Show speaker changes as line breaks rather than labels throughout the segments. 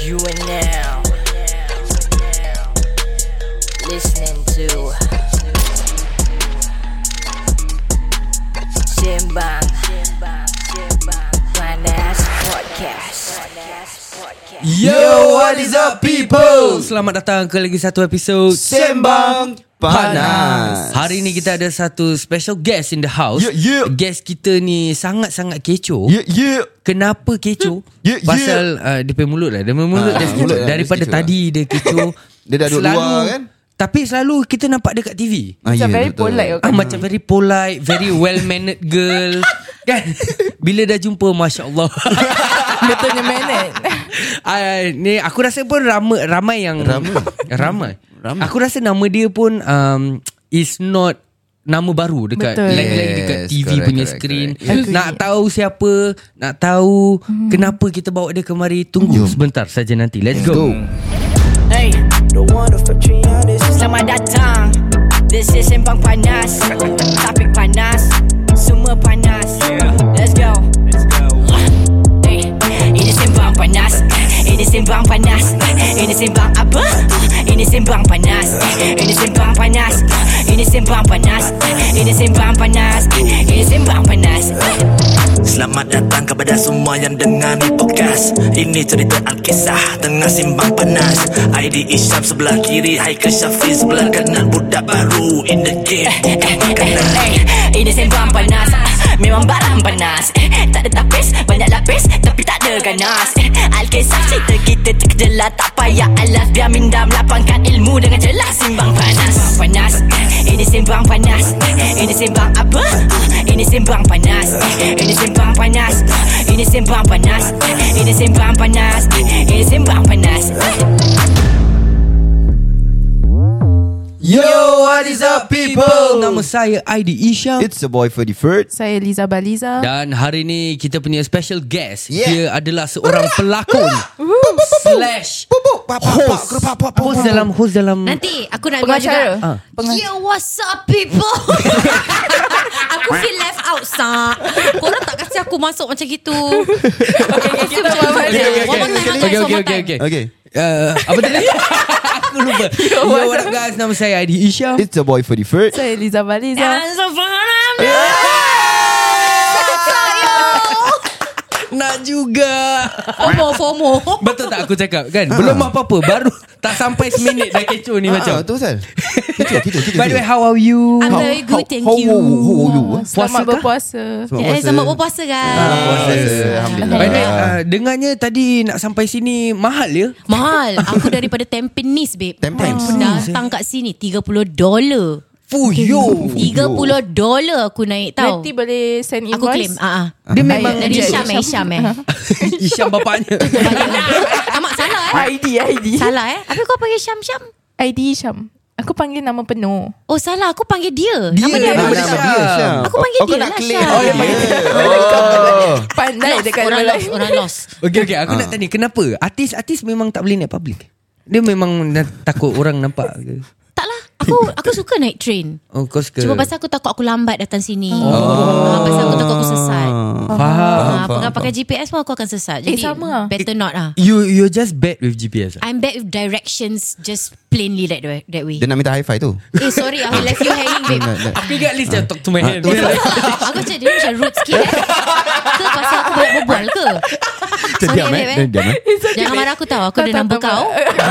You are now listening to Simbang Panas Podcast.
Yo, what is up people?
Selamat datang ke lagi satu episod
Sembang Panas.
Hari ni kita ada satu special guest in the house
Yeah, yeah.
Guest kita ni sangat-sangat kecoh
Yeah, yeah.
Kenapa kecoh?
Yeah, yeah.
Pasal uh, dia punya mulut lah Dia punya mulut,
Ah,
dia,
mulut lah,
Daripada
mesti kecoh
tadi dia kecoh
Dia dah duduk
Selalu-
luar kan?
Tapi selalu kita nampak dia kat TV
Ah,
Macam
yeah,
very
betul.
polite
Ah, macam very polite, very well mannered girl. kan? Bila dah jumpa masya-Allah.
Betulnya menet
Ah, ni aku rasa pun ramai ramai yang
Ramai.
ramai.
Ramai.
Aku rasa nama dia pun um, is not nama baru dekat
Betul.
lagi-lagi dekat
Yes,
TV
correct,
punya
correct,
screen.
correct.
Agree.
Nak tahu siapa, nak tahu kenapa kita bawa dia kemari tunggu sebentar saja nanti. Let's
Go.
go.
Hey, selamat datang. This is Sembang Panas. Topik panas, semua panas. Let's go. Hey, ini Sembang Panas. Ini Sembang Panas. Ini Sembang apa? Ini Sembang Panas. Ini Sembang Panas. Ini Sembang Panas. Ini Sembang Panas. Ini Sembang Panas.
Selamat datang kepada semua yang dengar ni podcast Ini cerita Alkisah tengah simbang panas ID Isyam sebelah kiri Haikal Syafiq sebelah kanan Budak baru in the game Bukan makanan
Hey, ini sembang panas Ah, Memang barang panas Eh, Tak ada tapis, banyak lapis Tapi tak ada ganas Eh, Alkisah cerita kita terkejelah Tak payah alas Biar minda melapangkan ilmu dengan jelas Simbang panas Sembang panas Eh, Ini sembang panas Eh, Ini sembang apa? Ah, Ini sembang panas Eh, Ini sembang panas Ah, Ini sembang panas Eh, Ini sembang panas Eh, Ini sembang panas
Yo, what is up people?
People, nama saya ID Isha.
It's a boy for the first.
Saya Liza Baliza
Dan hari ni kita punya special guest
Ah. Yeah.
Dia adalah seorang pelakon Slash Host Host dalam Host dalam
Nanti aku nak bilang
Pengacara Ah.
juga. Yeah, what's up people? aku feel left out sah. Korang tak kasi aku masuk macam gitu. Aku feel macam
okay,
gitu.
okay,
One more time,
Okay,
one more time,
okay,
one more
okay,
time.
okay.
Okay.
Uh, apa tadi? Aku lupa. Yo, what up guys? Nama saya Adi Isha.
It's a boy for the first.
Saya Liza Baliza
Dan sebenarnya
Nak juga.
FOMO FOMO.
Betul tak aku cakap kan? Belum apa-apa. Baru tak sampai seminit dah kecoh ni
Ah,
macam.
tu Sal. Kita, kita, kita.
By the way, how are you?
I'm very good, thank you.
How, how, how are you? eh?
Puasa
Selamat
kah?
berpuasa
Eh, selamat berpuasa guys.
Puasa. Alhamdulillah.
By the way, uh, dengarnya tadi nak sampai sini mahal ya?
Mahal. Aku daripada Tampines babe.
Tampines.
Datang kat sini 30 dolar.
Fuyo.
30 dolar aku naik tau.
Nanti boleh send invoice
Aku claim. Ah ah.
Dia memang
Dari Isyam eh Isyam eh.
Isyam bapaknya.
Amak salah eh.
ID ID
Salah eh Habis kau panggil Syam-Syam
ID Syam Aku panggil nama penuh
Oh salah aku panggil dia, Nama dia
Nama
nama
dia
dia
Syam.
Syam.
Aku panggil
Oh, kau
dia
nak
lah,
claim.
Syam.
Oh, dia
Yeah.
panggil dia. Oh.
Pandai dekat
Orang
Malaysia
lost Orang lost
Okay, okay. Aku nak tanya, kenapa? Artis-artis memang tak boleh naik public? Dia memang dah takut orang nampak ke?
Tak lah Aku aku suka naik train
Oh, kau suka.
Cuma pasal aku takut aku lambat datang sini oh. Pasal aku takut aku sesat
Faham.
Ah, Pakai pakai GPS pun aku akan sesat
Eh,
Jadi
sama lah.
better not ah.
You you're just bad with GPS. ah?
I'm bad with directions Just plainly that way, that way.
Dia nak minta high five tu.
Eh sorry I left you hanging babe
Aku ingat list dia talk to my hand.
Aku macam dia macam rude sikit eh. Ke pasal aku banyak berbual ke Sorry
Dia diam
babe
eh.
eh
Dia diam eh.
Jangan marah aku tau Aku
Tak,
ada
tak,
number
tak,
kau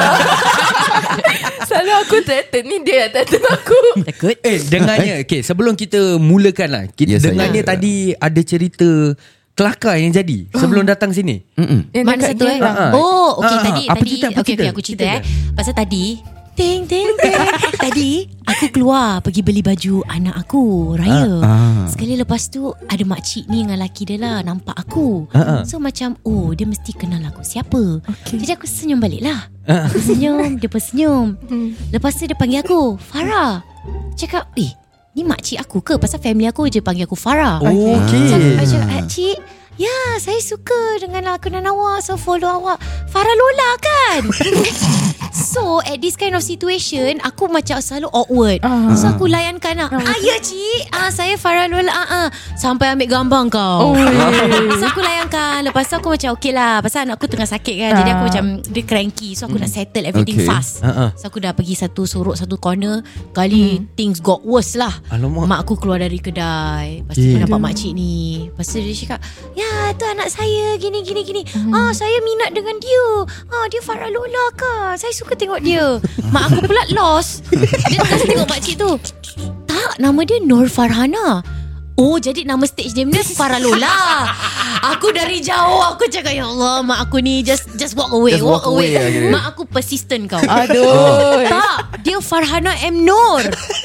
Selalu aku threaten Ni dia yang threaten aku
Takut
Eh, dengarnya. Okay, sebelum kita mulakan lah. Kita
Yes,
yes,
saya.
dengarnya tadi ada cerita kelakar yang jadi sebelum datang sini.
Yang
Mana
dekat
satu eh?
Geylang.
Ah, ah.
Oh, okey
Ah, ah.
tadi
Apa
tadi
cerita, apa
okey
cerita?
okey aku cerita,
Cerita
eh. Pasal tadi ting ting ting. tadi aku keluar pergi beli baju anak aku raya.
Ah,
Sekali lepas tu ada mak cik ni dengan laki dia lah nampak aku.
Ah,
So macam oh dia mesti kenal aku siapa.
Okey.
Jadi aku senyum balik lah.
Ah.
Aku senyum, dia pun senyum.
Hmm.
Lepas tu dia panggil aku, Farah. Cakap, "Eh, ni mak cik aku ke? Pasal family aku je panggil aku
Oh,
Farah." Saya
Okay.
cakap Cik Ya saya suka dengan lakonan awak So follow awak Farah Lola kan So at this kind of situation Aku macam selalu awkward
Ah.
So aku layankan lah Ah ya cik ah, Saya Farah Lola ah, ah. Sampai ambil gambar
Oh.
kau So aku layankan ah, Lepas tu aku macam Okay lah Pasal anak aku tengah sakit kan Jadi aku macam Dia cranky So aku nak settle everything
Okay.
fast
Ah, ah.
So aku dah pergi satu sorok Satu corner Kali things got worse lah
Alamak.
Mak aku keluar dari kedai Lepas tu
Eh.
yeah. nampak makcik ni Lepas tu dia cakap Ya tu anak saya Gini gini gini Ah Saya minat dengan dia Ah Dia Farah Lola ke Saya suka tengok dia Mak aku pula lost Dia terus tengok makcik tu Tak Nama dia Nur Farhana Oh jadi nama stage name dia Farah Lola Aku dari jauh Aku cakap Ya Allah mak aku ni Just just walk away
Just
walk,
walk
away,
away lah aja.
Mak aku persistent kau
Aduh
Tak Dia Farhana M. Nur
Habis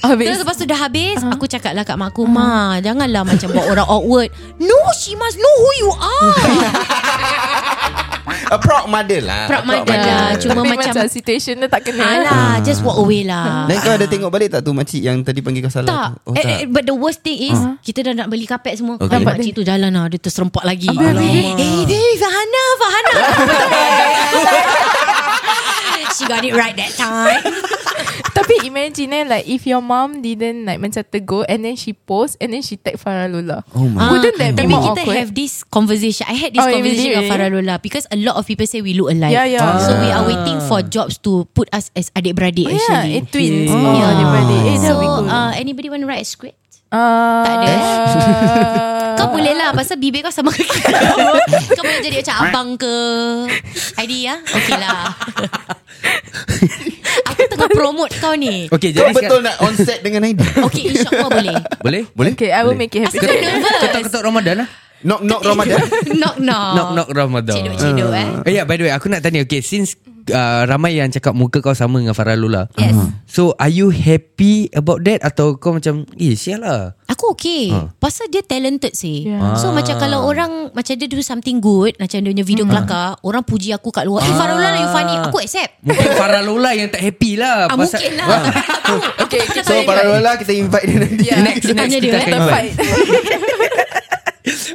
Ah.
Terus lepas tu dah habis uh-huh. Aku cakap lah kat mak aku Ma janganlah macam buat orang awkward No she must know who you are
A proud mother lah
Proud mother. Cuma
Tapi
macam-
macam, Situation dia tak kena
Alah just walk away lah
Dan kau ada tengok balik tak tu makcik yang tadi panggil kau salah?
tak.
tu? Oh,
eh, eh,
tak.
But the worst thing is
Ah.
Kita dah nak beli kapek semua
Okay.
okay. Nampak cik tu jalan lah Dia terserempak lagi
Alamak.
Eh hey, hey, Fahana Fahana She got it right that time
Tapi imagine eh, Like if your mom Didn't like Macam tegur And then she post And then she tag Farah Lola
Oh my
Ah,
Wouldn't that be
Tapi
more
kita
awkward?
have this conversation I had this
Oh, you
conversation
really?
Dengan Farah Lola Because a lot of people say We look alike
Yeah, yeah. Ah.
So we are waiting for jobs To put us as adik-beradik
Oh, yeah,
actually
it twins.
Okay.
Oh,
Yeah.
adik-beradik. Eh,
So
that'll be good.
uh, anybody want to write a script?
Ah.
Tak ada, eh?
Ah.
Kau boleh lah Pasal bibir kau sama kaki Kau boleh jadi macam abang ke Heidi ya Okay lah Aku tengah promote kau ni
Okay
Kau
jadi
betul
sekarang-
nak on set dengan Aida?
Okay insyaAllah boleh
Boleh?
Boleh?
Okay I will make it
Asal kau
happen
nervous Oh.
Ketuk-ketuk Ramadan lah
Knock knock Ramadan.
Knock knock
Knock knock Ramadan
Cedok-cedok eh
Eh, yeah, by the way, aku nak tanya. Okay, since uh, ramai yang cakap muka kau sama dengan Farah Lola.
Yes.
So, are you happy about that? Atau kau macam, eh, sial lah.
Aku okay
Ha. Ah.
Pasal dia talented sih
Yeah.
So macam kalau orang Macam dia do something good Macam dia punya video
Hmm.
kelakar Orang puji aku
Ah.
kat luar Eh Farah Lola you funny Aku accept
Mungkin Farah Lola yang tak happy lah.
Ah,
pasal-
mungkin lah.
Ah.
Okay
So para Lola kita invite dia
Ya,
nanti.
Yeah.
Next,
Kita
next
tanya
kita
dia, eh.
akan
Kita
invite.
fight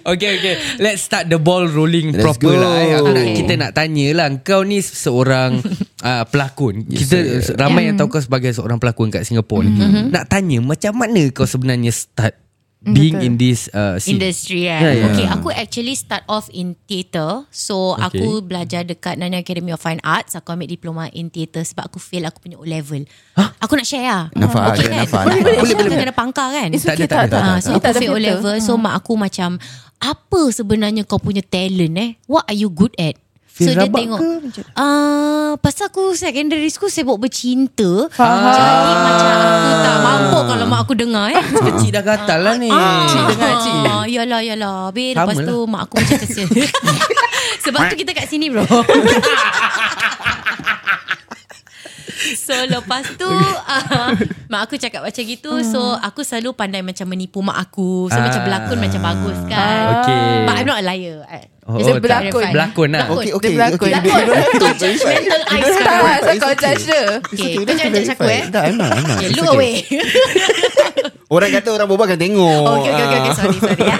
Okay, okay. Let's start the ball rolling
Let's
proper
go.
lah. Eh. Aku nak,
Okay.
kita nak tanya lah. Kau ni seorang uh, pelakon. Yes, kita
sir.
ramai
Hmm.
yang tahu kau sebagai seorang pelakon kat Singapura ni. Mm-hmm. Nak tanya, macam mana kau sebenarnya start being in this uh, scene?
industry eh.
Yeah, yeah.
Okay, aku actually start off in theatre. So
Okay.
okay. aku belajar dekat Nanyang Academy of Fine Arts. Aku ambil diploma in theatre sebab aku fail aku punya O level. Huh? Aku nak share lah.
Nafas, ada
okay, kan?
nafas, nafas.
Boleh,
Boleh,
boleh, boleh,
boleh,
boleh. Kena pangkar kan?
It's
Tak ada,
okay
tak ada,
tak
tak ada.
ada
Ah, so
Kita
aku
ada
fail O
filter.
level. So mak aku macam apa sebenarnya kau punya talent eh? What are you good at?
Feel
so dia
rabak
tengok
ke
Ah, pasal aku secondary school sibuk bercinta.
Faham.
Jadi macam aku tak mampu kalau mak aku dengar eh.
Kecil dah gatal lah ni.
Ah,
dengar, cik.
ah, Yalah, yalah. Habis
Sama
lepas tu mak aku macam kesian. Sebab tu kita kat sini bro. So lepas tu uh, Mak aku cakap macam gitu So aku selalu pandai macam menipu mak aku So
Ah.
macam berlakon macam bagus kan
Okay.
But I'm not a liar I-
Oh,
It's a
tak-
berlakon.
Berlakon lah.
Berlakon.
Okay, okay,
Dia berlakon.
okay.
Takut.
You don't have to
Too
verify. You
judgmental eyes
don't have to
Tak
sekarang.
verify.
asal kau
It's okay.
judge dia
It's
Okay,
okay.
kau jangan judge aku, eh.
Tak, I'm not, I'm not.
Yeah,
It's
look
okay.
away
Orang kata orang berbual akan tengok.
Oh, okay, okay, okay, okay.
Ah.
Sorry, sorry. Ya.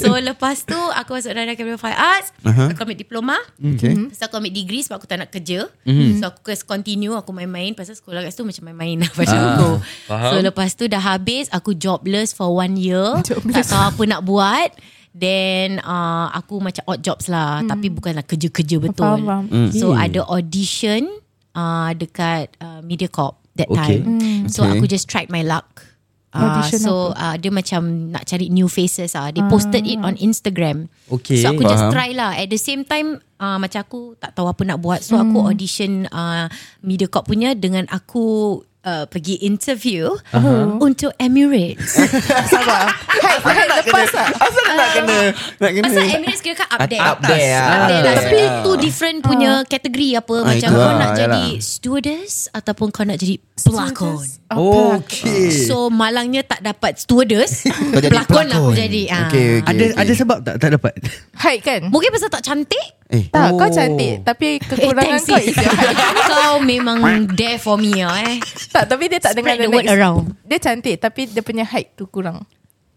So, lepas tu aku masuk dalam Academy of Fine Arts.
Aha.
Aku ambil diploma.
Okay.
Pasal aku ambil degree sebab aku tak nak kerja. Mm-hmm. So, aku just continue. Aku main-main. Pasal sekolah kat situ macam main-main lah. Pasal
Ah,
aku.
faham.
So, lepas tu dah habis. Aku jobless for one year. Tak tahu apa nak buat. Then uh, aku macam odd jobs lah. Mm. Tapi bukanlah kerja-kerja betul.
Faham, faham.
So, ada audition uh, dekat uh, MediaCorp that
Okay.
time. So,
Okay.
aku just tried my luck. Ah,
Audition
so uh, dia macam nak cari new faces ah. Dia posted it on Instagram.
Okay.
So aku just
Faham.
try lah. At the same time uh, macam aku tak tahu apa nak buat. So aku audition uh, MediaCorp punya dengan aku uh, pergi interview uh-huh. untuk Emirates.
Sabar Hai, hai lepas lah
Asal nak kena nak kena.
Pasal Emirates kira kan up there.
Up there, ah.
Up there lah.
Up
Tapi
there.
two different punya kategori apa.
Ah,
Macam
itu
kau
lah,
nak jadi
yalah.
stewardess ataupun kau nak jadi pelakon.
Oh. Okay.
So malangnya tak dapat stewardess.
Eh. Kau jadi
pelakon lah aku
pelakon.
jadi. ah.
Okay, okay.
Ada ada sebab tak tak dapat?
Hai kan
Mungkin pasal tak cantik
Eh,
Tak
Oh.
kau cantik Tapi kekurangan
thanks,
kau
sis.
is your height
Kau memang there for me ah, eh
Tak tapi dia tak dengar
Spread the
next-
word around.
Dia cantik Tapi dia punya height tu kurang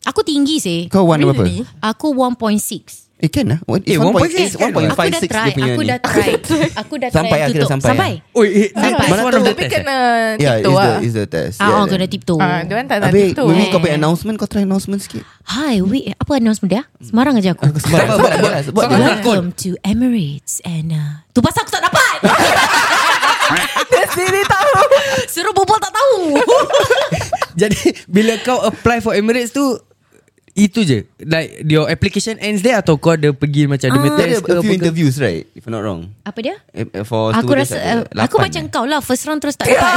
Aku tinggi sih
kau warna apa?
Really?
Aku 1.6
Eh kan lah What-
Eh,
It's
1.8,
1.8 1.56
kan?
Aku dah
dia
try
punya
Aku
ni
dah try Aku dah try
Sampai lah,
tutup
kira sampai
Sampai
Oh, eh,
Sampai.
mana tu
Tapi
dah test? eh?
kena
Yeah
TikTok
it's the,
lah
it's the test
Ah,
Yeah,
oh,
yeah.
kena tiptoe.
Ah, Diorang tak nak
Habis
TikTok
Maybe
eh.
kau punya announcement Kau try announcement sikit
Hi, wait, apa announcement dia? Semarang aja aku.
Sembarang Buat lah, buat lah, buat lah.
Welcome to Emirates and uh, tu pasal aku tak dapat.
Sini tahu
Suruh bobol tak tahu.
Jadi bila kau apply for Emirates tu itu je. Like your application ends there atau kau ada pergi macam dia punya
Dia Ah.
test
ada
ke
a
apa
few
ke?
interviews right If I'm not wrong
apa dia?
Eh, eh, For
Aku
students
rasa
ada
uh, aku
lapan,
macam
eh.
kau lah first round terus tak dapat.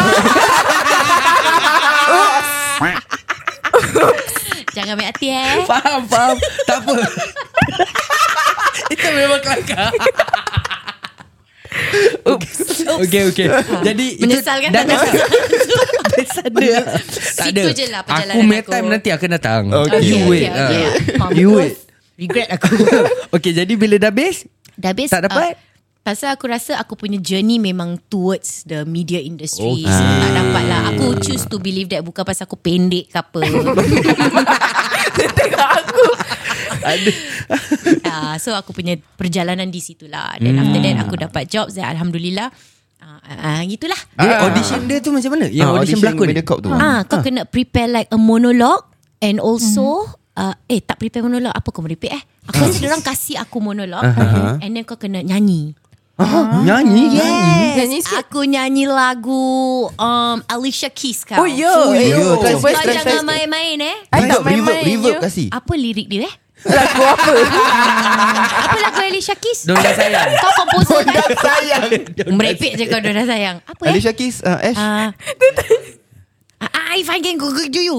Jangan ambil hati eh.
Faham, faham. tak apa. Itu memang kelakar. Oops. Okay, okay. Jadi
Menyesal kan
dah-
tak dapat.
Ada. tak ada.
Situ je lah perjalanan
aku me
aku.
time nanti akan datang.
Okay.
You
Okay,
wait.
okay, okay.
ah.
Faham.
You wait.
Regret aku.
Okay, jadi bila dah habis,
Dah habis.
Tak dapat?
Uh, Pasal aku rasa aku punya journey memang towards the media
Okay.
industry. So, tak dapat lah. Aku choose to believe that bukan pasal aku pendek ke apa.
Tengok aku
uh, so aku punya perjalanan di situ lah. Then after that aku dapat jobs dan Alhamdulillah. Uh, uh, gitulah.
dia audition dia tu macam mana? Yang
Ah,
audition, berlakon ni?
Mediacorp tu
Ah, kau kena prepare like a monologue and also uh, eh tak prepare monologue apa kau merepek eh? Aku rasa orang kasih aku monologue and then kau kena nyanyi.
Ah, Nyanyi? Mm-hmm.
Yes,
Eh, Nyanyi sikit.
aku nyanyi lagu um, Alicia Keys kau.
Oh yo
Oh,
Eh,
yo.
Cuba
Try,
Kau
try,
start.
try.
jangan main-main eh.
I
Reverb, reverb,
tak main-main ya.
reverb
you.
kasih
Apa lirik dia eh?
Lagu apa
Apa lagu Alicia Keys?
Dondang Sayang.
Kau komposer kan?
Sayang
Merepek je kau dah sayang. Apa eh?
Alicia Keys uh, Ash
Ah, Ah, if I can go go to you.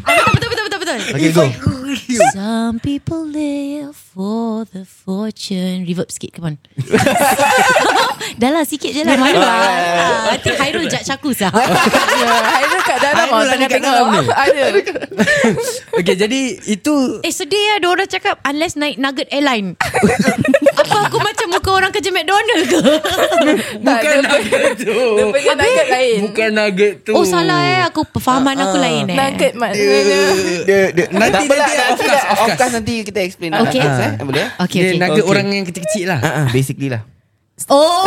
Ah, betul betul betul betul.
Okay go
Some people live for the fortune. Reverb sikit, come on. Dah lah, sikit je lah. Malu lah. Ah, Nanti Hairul judge aku sah.
Hairul Ah, kat dalam
Hairul
tau,
ada
Tengah
kat
tengok
dalam ni.
Ada
Okay, jadi itu
Eh sedih lah Diorang cakap Unless naik Nugget Airline Apa aku macam Muka orang kerja McDonald ke
bukan nugget tu.
Dia punya nugget lain
Bukan nugget tu.
Oh salah eh Aku perfahaman aku lain eh
Nugget maknanya
dia, dia,
Nanti,
tak apalah, nanti,
nanti, of course,
dah-
of
of
course. Ah.
course nanti kita explain lah.
Okay.
Of course, eh. Boleh eh?
Okay,
Dia
okay.
nugget
Okay.
orang yang kecil-kecil lah.
Ah, ah, basically lah
Oh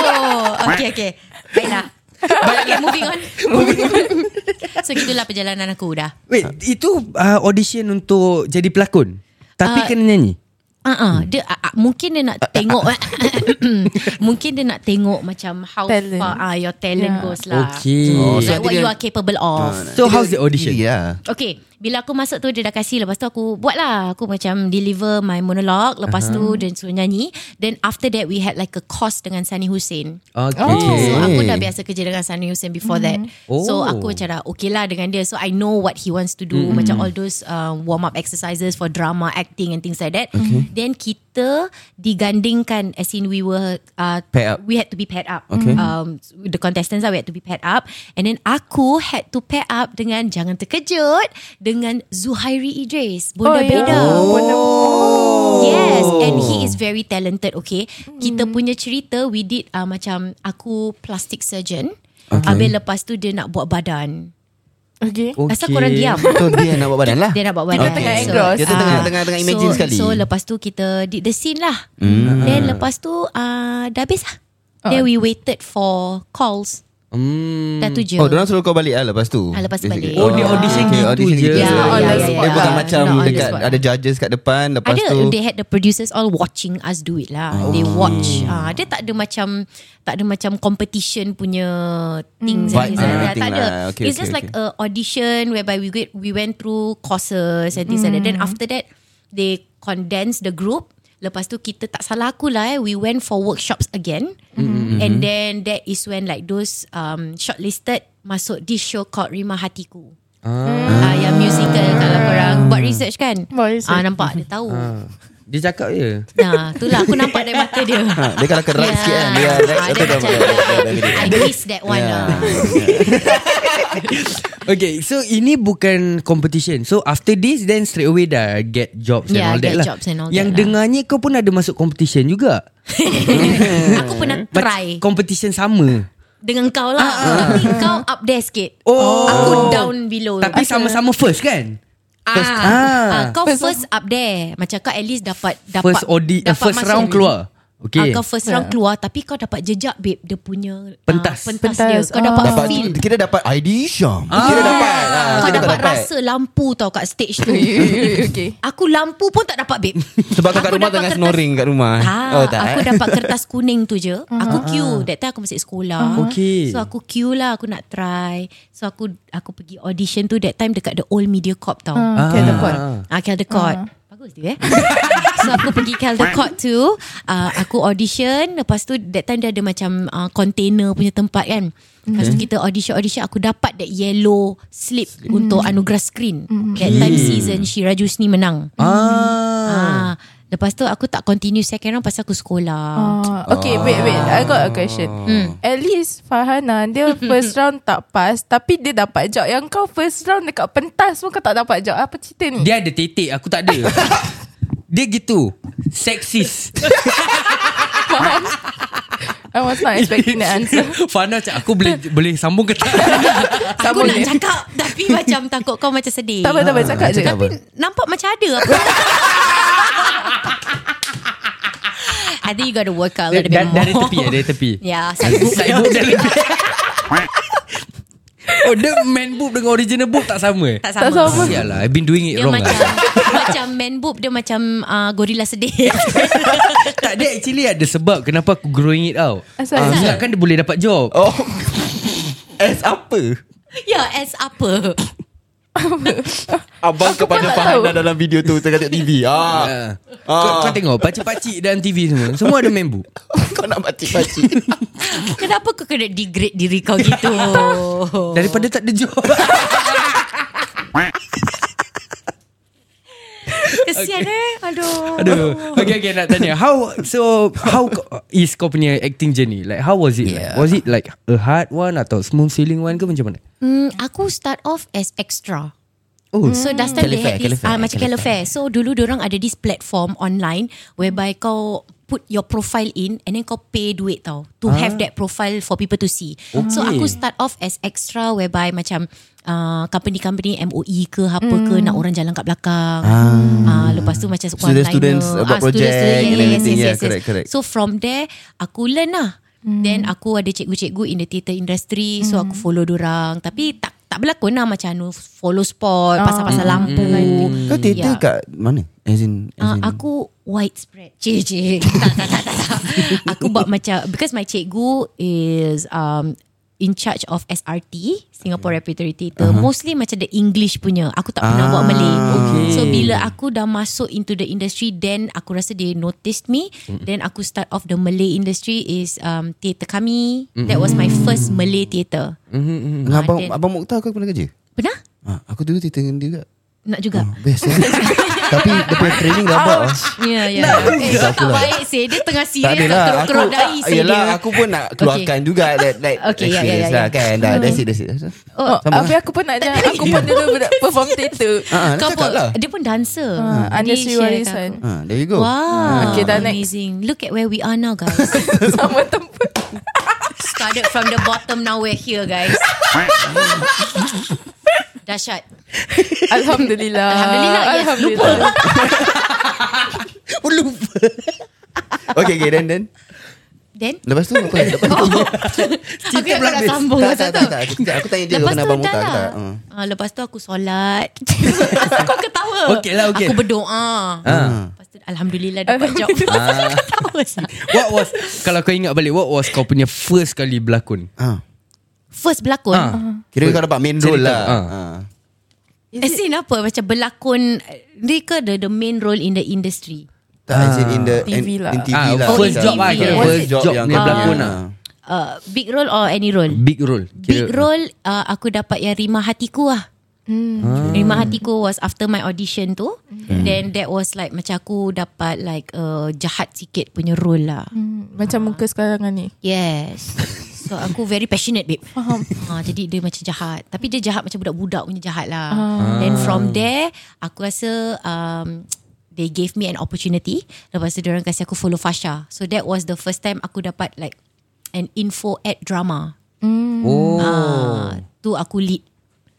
Okay okay Baiklah Okay moving on So gitulah perjalanan aku dah
Wait, itu uh, audition untuk jadi pelakon. Tapi
Ah.
kena nyanyi.
Uh-uh, dia uh, uh, mungkin dia nak tengok mungkin dia nak tengok macam how
Talent.
far uh, your talent
Yeah.
goes lah.
Okay.
Oh, so
Like what
nanti
you
dia- Ah.
are capable of.
So how's the audition?
Ya
Okay Bila aku masuk tu Dia dah kasih Lepas tu aku buat lah Aku macam deliver my monologue Lepas uh-huh. tu Dia suruh nyanyi Then after that We had like a course Dengan Sani Hussein
Okay.
Oh. So aku dah biasa kerja Dengan Sani Hussein Before that
Oh.
So aku macam dah Okay lah dengan dia So I know what he wants to do Macam all those uh, Warm up exercises For drama acting And things like that Then kita Digandingkan As in we were uh,
Paired up.
We had to be paired up um, The contestants lah We had to be paired up And then aku Had to pair up Dengan Jangan terkejut Dengan Zuhairi Idris
Oh,
Bunda
ya.
Beda
Oh.
Yes And he is very talented Okay Kita
Hmm.
punya cerita We did uh, Macam Aku plastic surgeon okay. Habis lepas tu Dia nak buat badan
Okay
Okay.
Asal korang diam
So dia nak buat badan lah
dia nak buat
Kita
badan
tengah
So,
engross.
Dia tu
ah,
tengah- tengah- tengah imagine
so,
sekali. Hmm.
So lepas tu kita Did the scene lah Then lepas tu uh, Dah habis lah
Ah.
Then we waited for Calls
Hmm.
Dah tu je
Oh diorang suruh kau balik lah lepas tu
Ah, lepas
Basically.
balik. Oh, dia
audition
okay,
gitu
audition
je.
gitu
Yeah,
on the spot
Dia bukan
lah.
macam
Not on the
dekat
spot.
Ada judges kat depan Lepas
ada
tu Oh.
they had the producers all watching us do it lah. They watch. Ah, dia tak ada macam tak ada macam competition punya things
Hmm. Vibe and
and things like that.
everything
Tak ada.
lah. Okay,
It's
okay,
just
okay.
like a audition whereby we get, we went through courses and things like that.
Hmm.
Then after that they condense the group. Lepas tu kita tak salah aku lah eh. We went for workshops again.
Hmm,
And then that is when like those um, shortlisted masuk this show called Rima Hatiku. Ah. yang musical kalau korang buat research kan?
Buat research.
Ah nampak dia tahu.
Dia cakap je.
Nah, itulah aku nampak dari mata dia.
ha, Dia kalau keras
Yeah.
sikit kan Dia
Ah,
dia-
dia
dia- dia-
macam,
dia- dia- dia- dia- dia-
I
dia-
missed that one
Yeah.
lah.
Okay, so ini bukan competition. So after this, then straight away dah get jobs
Yeah,
and all that
Ya, get
lah.
jobs and all
Yang
that lah.
dengarnya kau pun ada masuk competition juga.
Aku pernah
But
try
Competition sama.
dengan kau lah. Tapi kau up there sikit.
Oh.
Aku down below.
Tapi sama-sama first kan?
First-
ah,
Ah.
ah. kau
First
first, up there. Macam kau at least dapat dapat
First OD, uh, first
masuk.
round keluar. Okay.
Okay. Ah, kau first round keluar tapi kau dapat jejak babe dia punya
Pentas.
Ah, pentas,
Pentas.
dia. Kau
Ah.
dapat,
Dapat
feel.
Kita dapat ID Syam Kita dapat ah,
Kau
kita
dapat, rasa lampu tau kat stage tu.
okay.
aku lampu pun tak dapat babe.
Sebab kau kat
Aku
rumah
dapat
tengah
kertas-
snoring kat rumah
Tak,
Oh tak
tak aku
eh?
dapat kertas kuning tu je. Aku queue. That time aku masih sekolah.
Okay.
So aku queue lah, aku nak try. So aku aku pergi audition tu that time dekat the old media corp tau.
Okay, dapat.
Ah, Caldecott. Uh. Bagus tu eh. so aku pergi Caldecott tu, uh, aku audition, lepas tu that time dia ada macam uh, container punya tempat kan. Lepas tu kita audition-audition Aku dapat that yellow slip Untuk anugerah screen That time season Shira Jusni menang
Ah.
ah. Lepas tu aku tak continue second round Pasal aku sekolah
Ah, okay, wait, wait. I got a question. At least Farhana, dia first round tak pass. Tapi dia dapat job. Yang kau first round dekat pentas pun kau tak dapat job. Apa cerita ni?
Dia ada titik, aku tak ada. Dia gitu. Seksis.
I was not expecting the answer.
Fana cakap aku boleh boleh sambung ke tak?
Aku
Sambung
nak
je.
cakap Tapi macam takut kau macam sedih
Tak apa, tak apa. Cakap je.
Cakap apa?
Nampak macam ada apa. I think you gotta work out a little bit
Dari,
more
dari tepi ya, dari tepi.
Ya, saya
Side boob dari tepi. Oh, dia man boob dengan original boob tak sama eh?
tak
Tak
sama.
sama.
Sial lah, I've been doing it
Dia
wrong
macam
lah.
macam man boob dia macam uh, gorila sedih.
tak, dia actually ada sebab kenapa aku growing it out.
Asal?
Ah,
Asal?
Ingat kan dia boleh dapat job.
Oh S apa
ya, as apa?
Abang kepada
tak
Fahana
tahu.
dalam video tu Tengah tengok TV ah.
Ah.
Ah.
Kau, kau tengok Pakcik-pakcik dalam TV semua Semua ada man boob
Kau nak pakcik-pakcik
Kenapa kau kena degrade diri kau gitu?
Daripada tak ada job
Kesian eh. Aduh.
Aduh Okay okay nak tanya How So How kau- is kau punya acting journey Like how was it yeah. like? Was it like A hard one Atau smooth sailing one ke macam mana
Hmm, aku start off as extra.
Hmm.
Oh
So last time
Calefare,
they had this
Calefare,
ah, Macam Calefare So dulu orang ada this platform online Whereby kau put your profile in And then kau pay duit tau
Ah.
To have that profile for people to see So
Okay.
aku start off as extra Whereby macam uh, Company-company MOE ke apa ke
Hmm.
Nak orang jalan kat belakang
Ah.
uh, Lepas tu macam one-liner.
Student-students buat
Ah, student-student,
project and
yes,
everything.
yes,
Yeah,
yes, yes.
correct, correct.
So from there Aku learn lah Then aku ada cikgu-cikgu In the theatre industry So aku follow dorang Tapi tak tak berlakon lah Macam anu Follow sport Pasal-pasal lampu
Hmm,
Kau teater
Ya.
kat mana? As in, as
Ah,
in
aku widespread. Cik, cik. tak, tak, tak, tak, tak. Aku buat macam, because my cikgu is um, in charge of SRT, Singapore Repertory Theatre. Uh-huh. Mostly macam the English punya. Aku tak pernah
Ah,
buat Malay.
okay.
So, bila aku dah masuk into the industry, then aku rasa they noticed me. Then aku start off the Malay industry is um, theatre kami. That was my first Malay theatre.
Mm.
Hmm,
Dengan abang,
then-
abang Mokhtar kau pernah kerja?
Pernah?
Ha, aku dulu teater dengan dia juga
Nak juga?
oh, Best eh. Tapi dia punya training rabak lah
Ya, ya. Eh, kau tak baik sih. Dia tengah
tak
serius
ada
tak
lah aku,
kerok-kerok dahi sih
Yelah
dia.
aku pun nak keluarkan juga That, that
Okay, ya, ya,
experience
ya,
lah
ya.
kan Dah Ah, that's it that's it
Oh,
Sama
Habis aku pun nak jangan Aku pun dulu budak perform teater
Ah,
Kau
dah
pun,
cakap lah
Dia pun dancer
Ah, Anda
Dia
Sri
share
Warisan
kat aku.
Ha, there you go.
Wow
Ah. Okay, dah next.
Amazing Look at where we are now guys
Sama tempat
Started from the bottom Now we're here guys Dahsyat
Alhamdulillah
Alhamdulillah, yes.
Alhamdulillah
Oh, lupa. okay, okay, then, then.
Then
Lepas tu apa? Lepas tu.
Oh. Aku nak nak sambung
tak, tak,
pasal
tak,
tu.
tak. Sekejap, Aku tanya dia
Lepas
kena
tu
abang
dah
muta ke
lah
tak? Ha.
Ah, Lepas tu aku solat Kau ketawa
Okey lah, okey.
Aku berdoa
Hmm.
Ah.
Lepas tu Alhamdulillah dapat job
Ah.
Ketawa sah.
What was Kalau kau ingat balik What was kau punya first kali berlakon
Ha.
First berlakon
Ah.
Kira kau dapat main role
Cerita.
lah.
Ah.
Ha.
As in Eh, apa Macam berlakon Dia ke the, the main role in the industry
Tak, as in in the in,
TV lah.
in TV
Ah,
lah.
first
macam.
job lah,
kira
First
first job
yang Ah.
punya
kau
berlakon
punya.
lah.
uh, Big role or any role
Big role
Big role uh, Aku dapat yang Rima Hatiku lah hmm. Rima Hatiku was after my audition tu hmm. Then that was like Macam aku dapat like uh, Jahat sikit punya role lah hmm.
Macam muka sekarang ni
Yes So aku very passionate babe Faham uh, Jadi dia macam jahat Tapi dia jahat macam budak-budak punya jahat lah Then from there Aku rasa um, They gave me an opportunity Lepas tu diorang kasi aku follow Fasha So that was the first time Aku dapat like An info ad drama
Oh Hmm.
Ah, Tu aku lead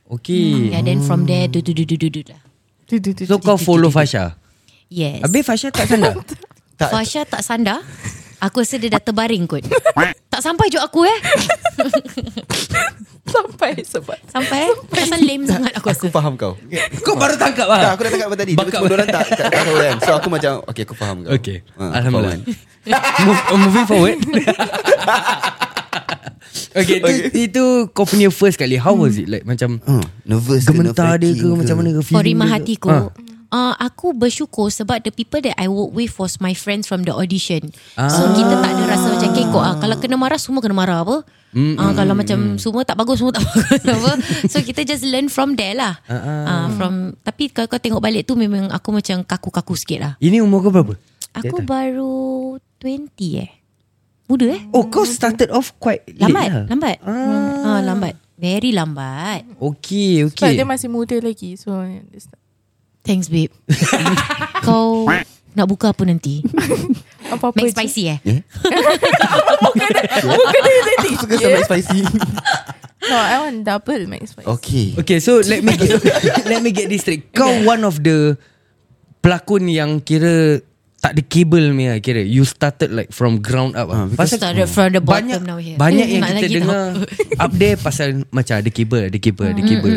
Okay Hmm,
Ya, Yeah, then from there do do do do do do lah.
Tu, tu, tu,
So
tu.
kau follow Fasha
Yes
Habis Fasha tak sandar
tak-
Fasha tak sandar Aku rasa dia dah terbaring kot Tak sampai jok aku eh
Sampai sebab
Sampai eh Pasal lame sangat aku rasa
Aku faham kau
Kau baru tangkap
Tak
lah
aku dah cakap apa tadi Tiba-tiba
Bakat.
orang tak Tak tak tahu kan So aku macam Okay aku faham kau
Okay
Ah,
Alhamdulillah
faham.
Move, uh, Moving forward Okay, okay. Itu, itu kau punya first kali How was it like Macam
Ah, Nervous ke
Gementar dia ke,
nerve-wracking
Macam mana Hmm. ke
For
feeling
Rima
dia ke?
hatiku
Ah.
Uh, aku bersyukur sebab the people that I work with was my friends from the audition. So kita tak ada rasa macam kekok. Ah. Kalau kena marah, semua kena marah apa. Mm, ah, kalau macam semua tak bagus, semua tak bagus apa. So kita just learn from there lah. Uh, from Tapi kalau kau tengok balik tu memang aku macam kaku-kaku sikit lah.
Ini umur kau berapa?
Aku baru 20 eh. Muda eh.
Oh kau started off quite late
Lambat,
lah.
lambat. Ah. lambat. Very lambat.
Okay
Sebab
okay
dia masih muda lagi So it's not-
Thanks babe. Kau nak buka apa nanti?
Apa-apa
Mac
je.
spicy eh?
Aku suka sama
Ya.
spicy
No I want double Mac spicy
Okay
Okay so let me get, Let me get this straight Kau one of the Pelakon yang kira Tak ada kabel ni lah kira You started like from ground up
Ah,
lah.
because
started from the bottom
banyak,
now here.
Banyak
Hmm.
yang
Nak
kita
lagi
dengar Up there pasal Macam ada kabel Ada kabel Ada
Hmm,
kabel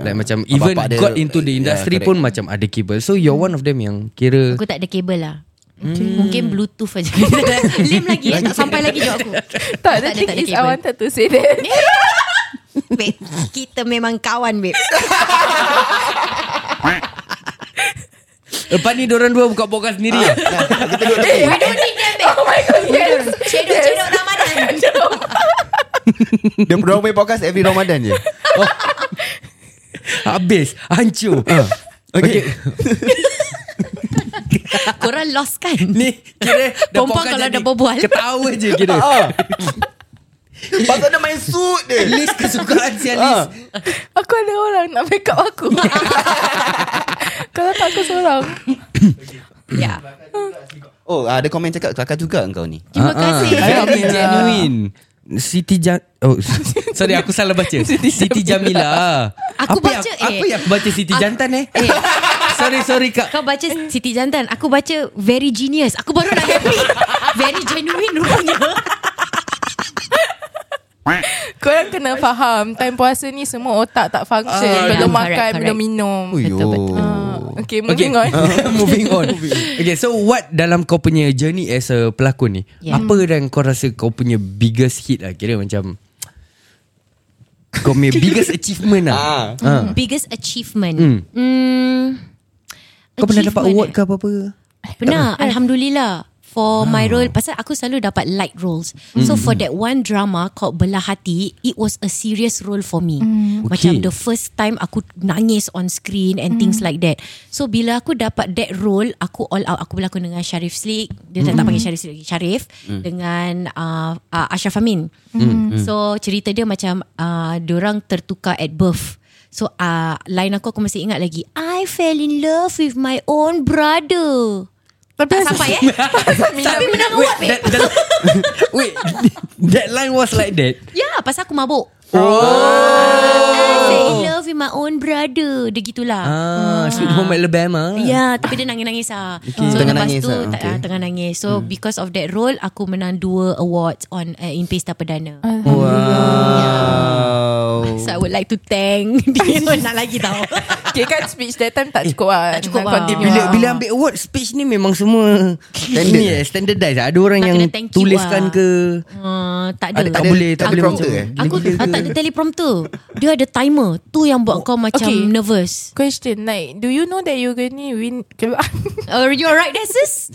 Like macam
Abang
Even
pak dia-
got into the industry
Yeah,
pun Macam ada kabel So you're one of them yang Kira
Aku tak ada kabel lah Mungkin, mungkin bluetooth aja Lame lagi eh Tak sampai lagi jawab aku
Tak the thing is I wanted to say that
Babe, Kita memang kawan babe
Lepas ni dorang "Eh, dua buka podcast sendiri lah
We don't need them babe Oh my god yes Cedok-cedok Ramadan
Dia orang main podcast Every Ramadan je
Habis Hancur
Ah,
Okay,
Korang lost kan
Ni kira dah
Perempuan
podcast
kalau
jadi
dah berbual.
Ketawa je kira
Pasal dia main suit dia
List kesukaan sial
Ah.
list
Aku ada orang nak make up aku Kalau tak aku seorang
Ya
Oh ada komen cakap Kelakar juga engkau ni
Terima kasih
Ah, Siti Genuine Siti Jam Oh Sorry aku salah baca Siti Jamila
Aku
Apa yang-
baca, eh.
Apa yang aku baca Siti
Aku-
Jantan eh
Eh.
Sorry sorry kak
Kau baca Siti Jantan Aku baca Very genius Aku baru nak happy Very genuine rupanya
Korang kena faham Time puasa ni semua otak tak function
Ah,
Belum
yeah,
makan
correct,
Belum
correct.
minum Ah,
Betul, betul.
Okay moving on
Moving on Okay so what Dalam kau punya journey As a pelakon ni
Yeah.
Apa yang kau rasa Kau punya biggest hit lah Kira macam Kau punya biggest achievement lah
Ah.
Biggest achievement
Hmm.
Hmm.
Kau pernah dapat
Achievement,
award
eh?
ke apa-apa
Pernah Alhamdulillah For my role Pasal aku selalu dapat light roles So for that one drama Called Belah Hati It was a serious role for me
Okay.
Macam the first time Aku nangis on screen And things like that So bila aku dapat that role Aku all out Aku berlakon dengan Sharif Slick Dia tak, tak panggil Sharif Slick lagi Sharif Dengan uh, uh, Ashraf Amin So cerita dia macam uh, Diorang tertukar at birth So uh, line aku aku masih ingat lagi I fell in love with my own brother
Tapi
tak sampai eh Tapi menang award eh?
Wait,
babe
that, that, wait That line was like that
Ya pasal aku mabuk Oh I fell in love with my own brother Dia gitulah
Ah, Sweet Home Alabama.
Ya tapi dia nangis-nangis lah okay. So
Tengah
lepas
nangis
tu
lah,
tak,
okay.
ah, Tengah nangis So because of that role Aku menang dua awards on uh, In Pesta Perdana
Wow
So I would like to thank Dia nak lagi tau
Okay kan speech that time tak cukup lah
tak cukup
Nak
lah.
continue
Eh, Bila
lah.
bila ambil award speech ni memang semua
Standard.
Ni eh, standardized. Ada orang
Tak
yang
kena thank you
tuliskan
lah.
ke
uh, Tak
ada,
ada
tak
ada-
boleh tak
tak ada
boleh macam
prompter eh?
Aku ah, tak ada teleprompter Dia ada timer Tu yang buat kau macam
Okay.
nervous
Question like Do you know that you're gonna win
Oh, Are you alright there sis?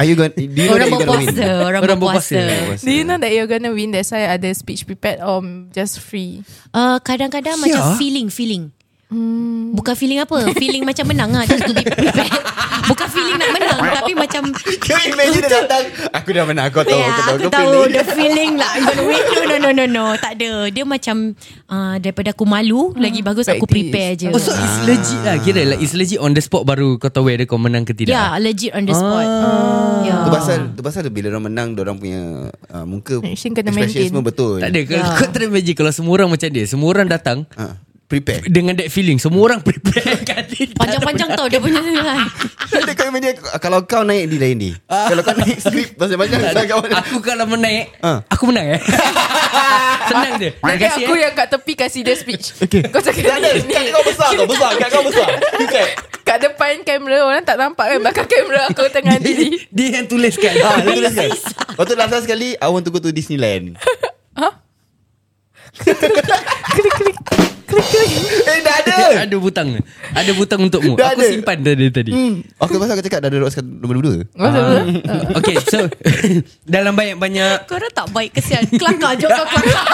Are you going Do you know that
Ah. Orang
you gonna win
berpuasa Orang,
Orang berpuasa.
berpuasa,
Do you know that you're gonna win That's why ada speech prepared Or just free
Uh, kadang-kadang
Ya.
macam feeling feeling. Hmm. Bukan feeling apa Feeling macam menang lah Just to be prepared Bukan feeling nak menang Tapi macam
Can you imagine dia datang Aku dah menang Kau
Oh,
tahu
Ya
Kau tahu
aku
Kau
tahu
pilih
The feeling lah I'm gonna win No no no no no Tak ada Dia macam uh, Daripada aku malu Lagi bagus aku
Practice.
prepare je
Oh, so it's legit lah kira like it's legit on the spot baru kau tahu whether kau menang ke tidak.
Ya yeah, legit on the spot Ya
Tu pasal tu pasal bila orang menang orang punya uh, muka
Action kena
expression
maintain.
semua betul.
Tak
Ya.
ada kau, kau try imagine kalau semua orang macam dia, semua orang datang
Ah. prepare
Dengan that feeling Semua orang prepare kali dah.
Panjang-panjang tau dia punya
Dia kau dia Kalau kau naik di lain ni Kalau kau naik skrip Panjang-panjang
Tak ada. Kan? Aku kalau menang
Ah.
Aku menang eh Senang je Terima
Nanti
kasih
aku
eh.
yang kat tepi Kasih dia speech okay. Kau cakap ni
kau besar kau Besar Kat kau besar
Kat depan kamera Orang tak nampak kan Belakang kamera aku tengah diri
Dia yang tuliskan
Ha, dia tuliskan. Lepas tu last sekali I want to go to Disneyland Eh dah ada
Ada butang Ada butang untukmu
Dah
Aku
ada. Hmm.
simpan dari tadi Ah.
Aku pasal aku cakap Dah ada rock nombor dua
Masa
Okay so Dalam banyak-banyak
Korang tak baik kesian Kelakar je kau kelakar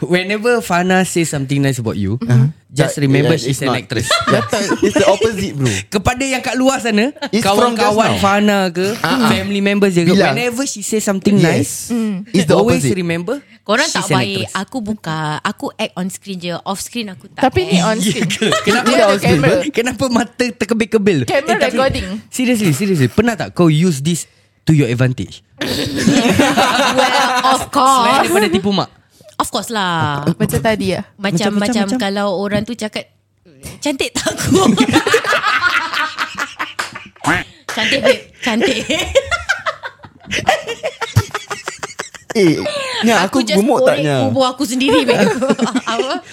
Whenever Fana says something nice about you Just
Hmm. Tak,
remember
yeah,
she's
it's
an
not.
actress
That time, It's the opposite bro
Kepada yang kat luar sana
It's from just
Kawan-kawan
now.
Fana ke Family members je ke
Bilang.
Whenever she says something
Yes Hmm.
nice
It's the
Always
opposite
remember
Korang
she's
tak
an
baik
actress.
Aku buka Aku act on screen je Off screen aku tak
Tapi ni
act.
on screen
Ya Kenapa
Dia ada kamera
Kenapa mata terkebil-kebil
Kamera
tapi-
recording.
Seriously seriously Pernah tak kau use this To your advantage
Well
Selain
of course
daripada tipu mak
Of course lah
Macam tadi lah
Macam-macam macam, Kalau orang tu cakap Cantik tak aku Cantik babe Cantik
Eh
Ya,
Nya aku
just
gemuk tak
korek
Nya
Kubur aku sendiri babe Apa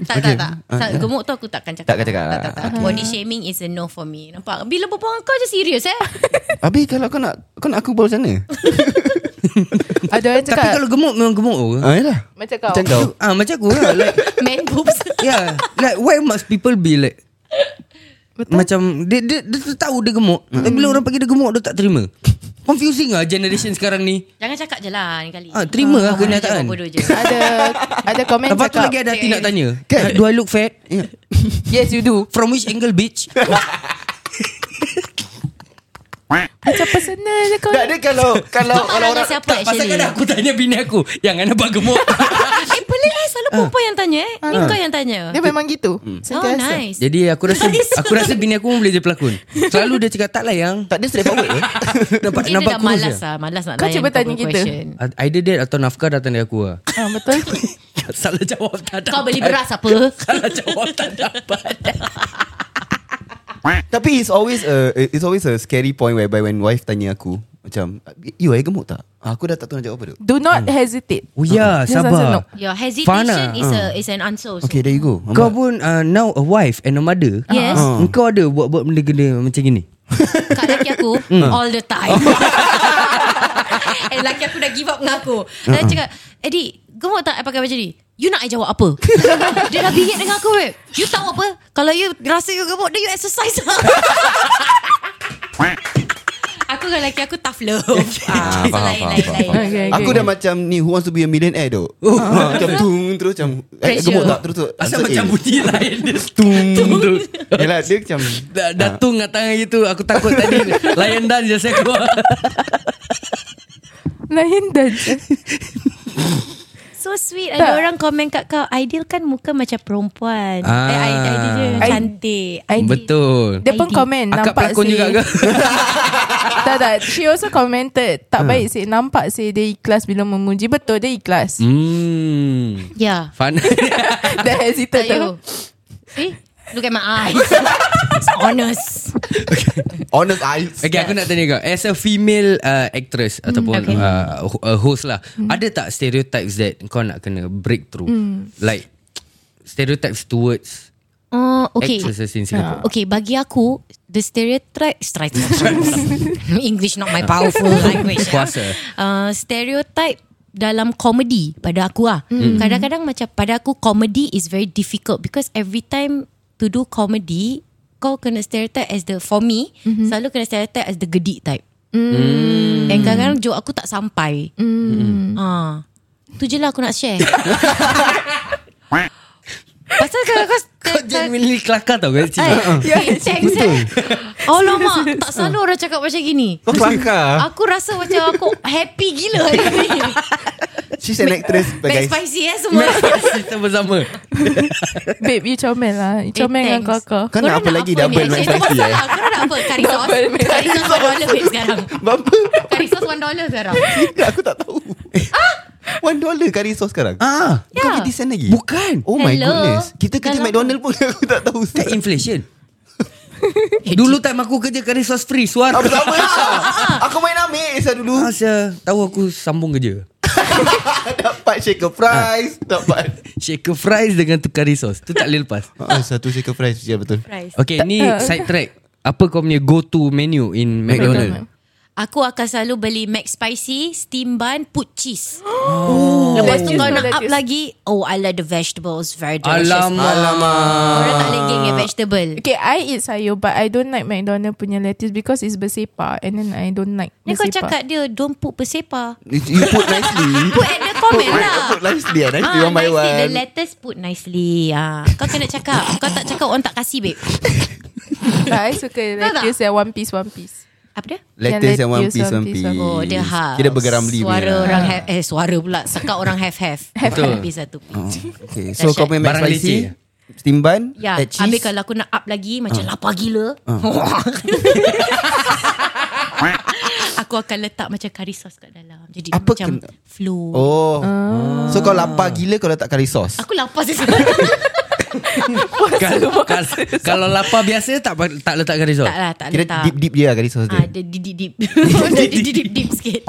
tak, tak, tak. tak. Gemuk tu aku takkan cakap.
Takkan cakap.
Tak, tak, tak. Body shaming is a no for me. Nampak? Bila berbual dengan kau je serius eh.
Habis kalau kau nak Kau nak aku bawa macam mana
Ada orang
Tapi
cakap
kalau gemuk Memang gemuk ke
Ah yalah
Macam kau
Macam kau
Ah macam aku lah like,
Man boobs.
Yeah Like why must people be like
Betul.
Macam dia, dia, dia, tu tahu dia gemuk
Hmm.
Tapi Bila orang panggil dia gemuk Dia tak terima Confusing lah generation sekarang ni
Jangan cakap je lah ni kali.
Ah, terima lah
Ah, bodoh je,
kenyataan.
Bodoh je. Ah,
Ada Ada komen
Lepas tu
cakap
lagi ada hati nak tanya
Kan?
Do I look fat?
Yes you do
From which angle bitch?
Macam personal je kau
Tak ada kalau Kalau
Tak
kalau
tanya
orang
siapa
tak pasal
actually.
kan aku tanya bini aku Yang kan nampak gemuk
Eh pelik eh Selalu perempuan yang tanya eh Ni kau yang tanya
Dia memang gitu
Hmm.
Oh
Sentiasa.
nice
Jadi aku rasa Aku rasa bini aku pun boleh jadi pelakon Selalu dia cakap tak lah yang
Tak eh. ada straight forward ke
Nampak,
Dia
nampak
dah
kurus
malas
je.
lah Malas nak
Kau
layan
cuba tanya
punya
kita.
question.
Ah, Either that atau nafkah datang dari aku lah
Ah, Betul
Salah jawab tak dapat
Kau beli beras apa
Salah jawab tak dapat
Tapi it's always a It's always a scary point Whereby when wife tanya aku Macam You I gemuk tak Ah, Aku dah tak tahu nak jawab apa tu
Do not hesitate
Oh ya
Yes, answer no.
sabar
Your hesitation
Fana,
is a is an answer also.
Okay there you go Nampak?
Kau pun uh, now a wife and a mother
Yes.
uh. Kau ada buat-buat benda genda macam gini
Kat laki aku All the time And laki aku dah give up dengan aku Dia cakap Eddie Gemuk tak I pakai baju ni You nak I jawab apa Dia dah bingit dengan aku babe You tahu apa Kalau you rasa you gemuk Then you exercise lah Aku dengan laki aku tough love ah, so lain, lain, lain.
Okay, okay.
Aku dah macam ni Who wants to be a millionaire tu Ah, Macam tung Terus macam eh,
Pressure.
Gemuk tak Terus tu
Asal
answer
macam
A.
bunyi lain Dia
Tung Yelah dia macam
da- Datung kat tangan gitu Aku takut tadi Lion dance je saya keluar
Lain dan
So sweet
Tak.
Ada orang komen kat kau Ideal kan muka macam perempuan
Ah.
ah. Eh, Ideal je
I-
cantik
I-
Betul
Dia pun
ID.
komen
Akak
Nampak
pelakon
sih.
juga ke
tak tak She also commented
Ah.
Tak baik sih Nampak sih Dia ikhlas bila memuji Betul dia ikhlas
Hmm
Yeah
Fun
Dia hesitate
Tak
tu
you See Eh? Look at my eyes It's honest
Honest eyes
Okay aku nak tanya kau As a female uh, actress Ataupun
Hmm, okay. Hmm.
uh, ho- uh, host lah Ada tak stereotypes that Kau nak kena break through
Hmm.
Like Stereotypes towards
uh, Okay
Actresses in Singapore
Okay bagi aku The stereotype Stereotype English not my powerful language
Kuasa.
uh, Stereotype dalam komedi pada aku lah. Kadang-kadang macam pada aku komedi is very difficult because every time to do comedy kau kena stereotype as the for me selalu kena stereotype as the gedik type. Mm. And kadang-kadang joke aku tak sampai. Mm. Ha. Tu je lah aku nak share. Pasal kalau kau Eh,
Kau genuinely kelakar tau kan Cik?
Ya
Thanks eh Oh lama Tak selalu orang cakap macam gini
Kau kelakar
Aku rasa macam aku Happy gila hari ni
She's an actress
Back
guys
spicy eh semua
Kita bersama
Babe you comel lah You
Eh,
comel dengan
thanks.
kakak
Kau nak
Korang
apa lagi
ni?
Double
Actually,
Mac
tak
Spicy eh
masalah. Korang nak apa Curry sauce
Double Mac
Curry sauce one dollar wait sekarang
Bapa
Curry sauce one dollar sekarang
Aku tak tahu One dollar curry sauce sekarang
Ah,
Bukan
Ya.
50 sen lagi
Bukan.
Oh my
Hello.
goodness Kita kerja
Kalau-
McDonald pun Aku tak tahu
Tak
Ustaz.
inflation. Dulu time aku kerja curry sauce free suar.
Apa sama lah Aku main ambil Isa dulu
Asya, tahu aku sambung kerja.
Dapat shaker fries Dapat
Shaker fries dengan tu curry sauce. Tu tak boleh lepas.
Ah, Satu shaker fries Ya betul
Price.
Okay, ni side track. Apa kau punya go-to menu in McDonald?
Aku akan selalu beli McSpicy, steam bun, put cheese.
Oh.
Lepas tu kau nak up lagi, oh I like the vegetables, very delicious.
Alamak.
Ya. Orang tak boleh geng vegetable.
Okay, I eat sayur but I don't like McDonald punya lettuce because it's bersepak and then I don't like
Ni kau
bersepak.
cakap dia Don't put persepa
You you put nicely
Put at the comment lah
Put nicely lah Nicely
Ah,
one by
nicely. The
one
letters put nicely ah. Kau kena cakap Kau tak cakap orang tak kasih babe
But I suka lettuce yang one piece one piece.
Apa dia?
Lettuce
Yang
and one
lettuce,
piece
one
One
piece,
piece
one
Oh dia half
Kira bergeram beli Ah.
Suara orang have, Eh suara pula Sekat orang have have Have have Pizza tu
Ah. Okay so kau punya
Barang
McSpicy
leceh.
Steam bun
Ya
add cheese.
Habis kalau aku nak up
Ah.
lagi Macam lapar gila Aku akan letak macam curry sauce kat dalam Jadi
Apa
macam
kena-
flow
Oh
Ah.
So kau lapar gila Kalau tak curry sauce
Aku lapar sih
Kalau, kalau, kalau lapar biasa tak pa- tak letak curry sauce.
Tak lah tak
Kira
letak
deep-deep dia lah curry sauce
Ah,
dia
dia deep deep deep. Dia deep deep deep sikit.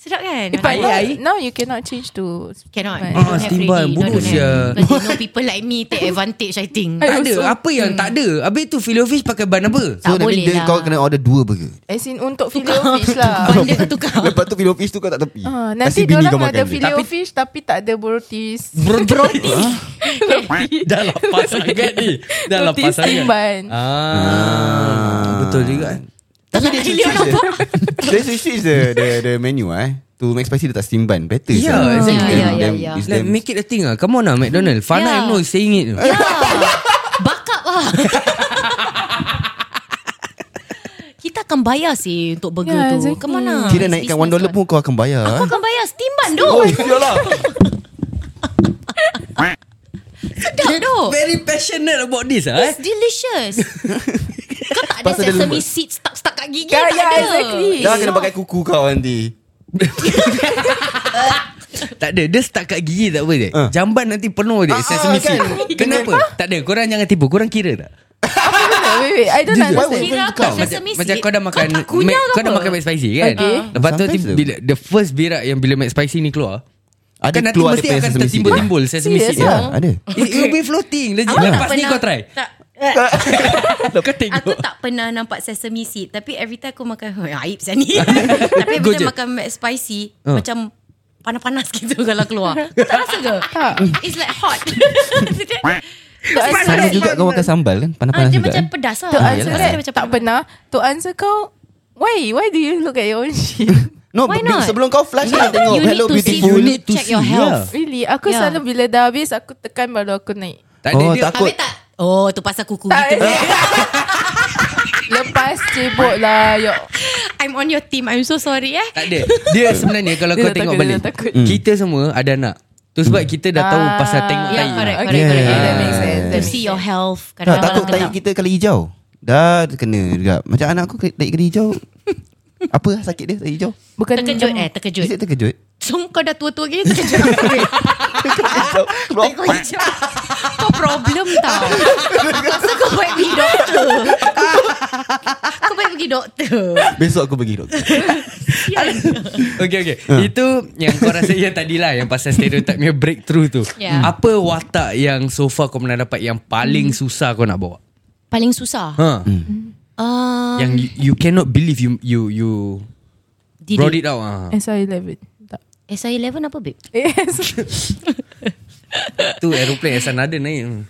Sedap kan?
But
I-
now,
I-
now you cannot change to
Cannot.
Ah,
Don't have
steam bun.
ready. No,
Bodoh
don't have.
sia.
But you know people like me take advantage I think.
Tak ada. Apa yang tak ada? Habis tu fillet fish pakai bun apa?
So that
Hmm. tak
means
boleh
dia
lah.
Kau kena order dua burger
As in untuk filet fish lah.
Benda kau tukar.
Lepas tu fillet fish tu kau tak tepi
Ah,
Kasih
nanti
bini
diorang
kau makan
ada
dia.
filet
Tapi-
fish tapi tak ada brotis.
Broti. Dah lapar sangat ni. Dah
lah,
lapar
Brotis
sangat.
timban.
Ah, betul juga.
Tapi dia switch je Dia switch switch the, the, the menu eh To make spicy dia tak steam bun Better
Yeah,
sah. It's
exactly.
Yeah,
them-
yeah,
them-
yeah.
it's
Like
them-
make it a thing ah. Come on lah McDonald. Fana I
Yeah.
know is saying it.
Ya. Bakap lah. Kita akan bayar sih untuk burger
Ya,
tu. lah.
exactly.
Ke mana?
Kira naikkan one dollar pun kau akan bayar
ah?
Kau
eh.
akan bayar steam bun tu.
Oh iyalah
Sedap tu.
Very passionate about this ah. eh.
It's delicious. Kau tak ada
Pasal dia
sesame
lembut.
seeds stuck-stuck kat gigi.
Ya,
tak
ya,
ada.
exactly.
Dah kena pakai kuku kau nanti
Tak ada Dia start kat gigi tak apa je
Ah.
Jamban nanti penuh je
Ah, ah,
Sesame
kan?
seed Kenapa? Tak ada Korang jangan tipu Korang kira tak?
wait, wait, I don't
Jujur.
understand.
Kira apa?
Macam-
Sesame
Macam
seed?
kau dah makan
Kau tak kunyah
Mac-
ke
Kau dah
apa?
makan mac spicy kan
Okay.
Lepas tu
Sometimes
ti- bila, The first berak Yang bila mac spicy ni keluar
Ada
Kan nanti
keluar
mesti
dia punya
akan
sesame seed.
tertimbul-timbul Sesame
Serious
seed
Ya
dia.
ada
It it will be floating Legit
Aku tak
Lepas ni
pernah-
kau try
tak-
Eh,
Kau
Aku
tengok
tak pernah nampak sesame seed Tapi every time aku makan "Oi, Aib saya ni Tapi every time
Gojek.
makan mac spicy
Ah.
Macam panas-panas gitu kalau keluar Kau tak rasa ke?
Tak.
It's like hot Ah,
Sama juga kau makan sambal kan
ah,
Panas-panas
Dia
juga
macam
kan
pedas lah
To answer
Rasa
that,
dia macam
tak
panas.
pernah. To answer kau, why? Why do you look at your own shit?
No
Why
be-
not?
sebelum kau flush Kau
Yeah,
tengok
you
Hello
need to see-
beautiful
you need to check your
see,
health.
Really? Aku
Ya.
selalu bila dah habis, aku tekan baru aku naik.
Tak ada
Oh
dia
takut
Habis tak Oh tu pasal kuku
Tak, eh.
gitu.
Lepas cebok lah. Yo.
I'm on your team I'm so sorry eh
Tak ada Dia sebenarnya Kalau kau
Dia dah
tengok
takut, dia
balik
dah takut.
Hmm.
Kita semua ada anak Tu sebab kita dah tahu Pasal tengok
Ya
tayi
correct
Okay,
correct
Yeah.
correct.
that makes sense.
To
That
see
makes
your
sense.
health
Tak takut
kadang-kadang lah,
tahi
kena-
kita kali hijau Dah kena juga Macam anak aku tahi kali hijau Apa sakit dia tahi hijau
Bukan
Terkejut eh terkejut
Is it terkejut
So kau dah tua-tua gini terkejut Kau hijau Kau problem tau Masa kau baik pergi doktor Kau baik pergi doktor
Besok aku pergi doktor
Okay okay
Hmm.
Itu yang kau rasa Yang tadilah Yang pasal stereotype punya breakthrough tu
Ya. Hmm.
Apa watak yang So far kau pernah dapat Yang paling susah kau nak bawa
Paling susah
ha.
uh,
Yang you, you cannot believe You you you Brought it out ah.
SR11. Tak.
SI11 apa babe?
Yes.
Tu aeroplane As another naik Hmm.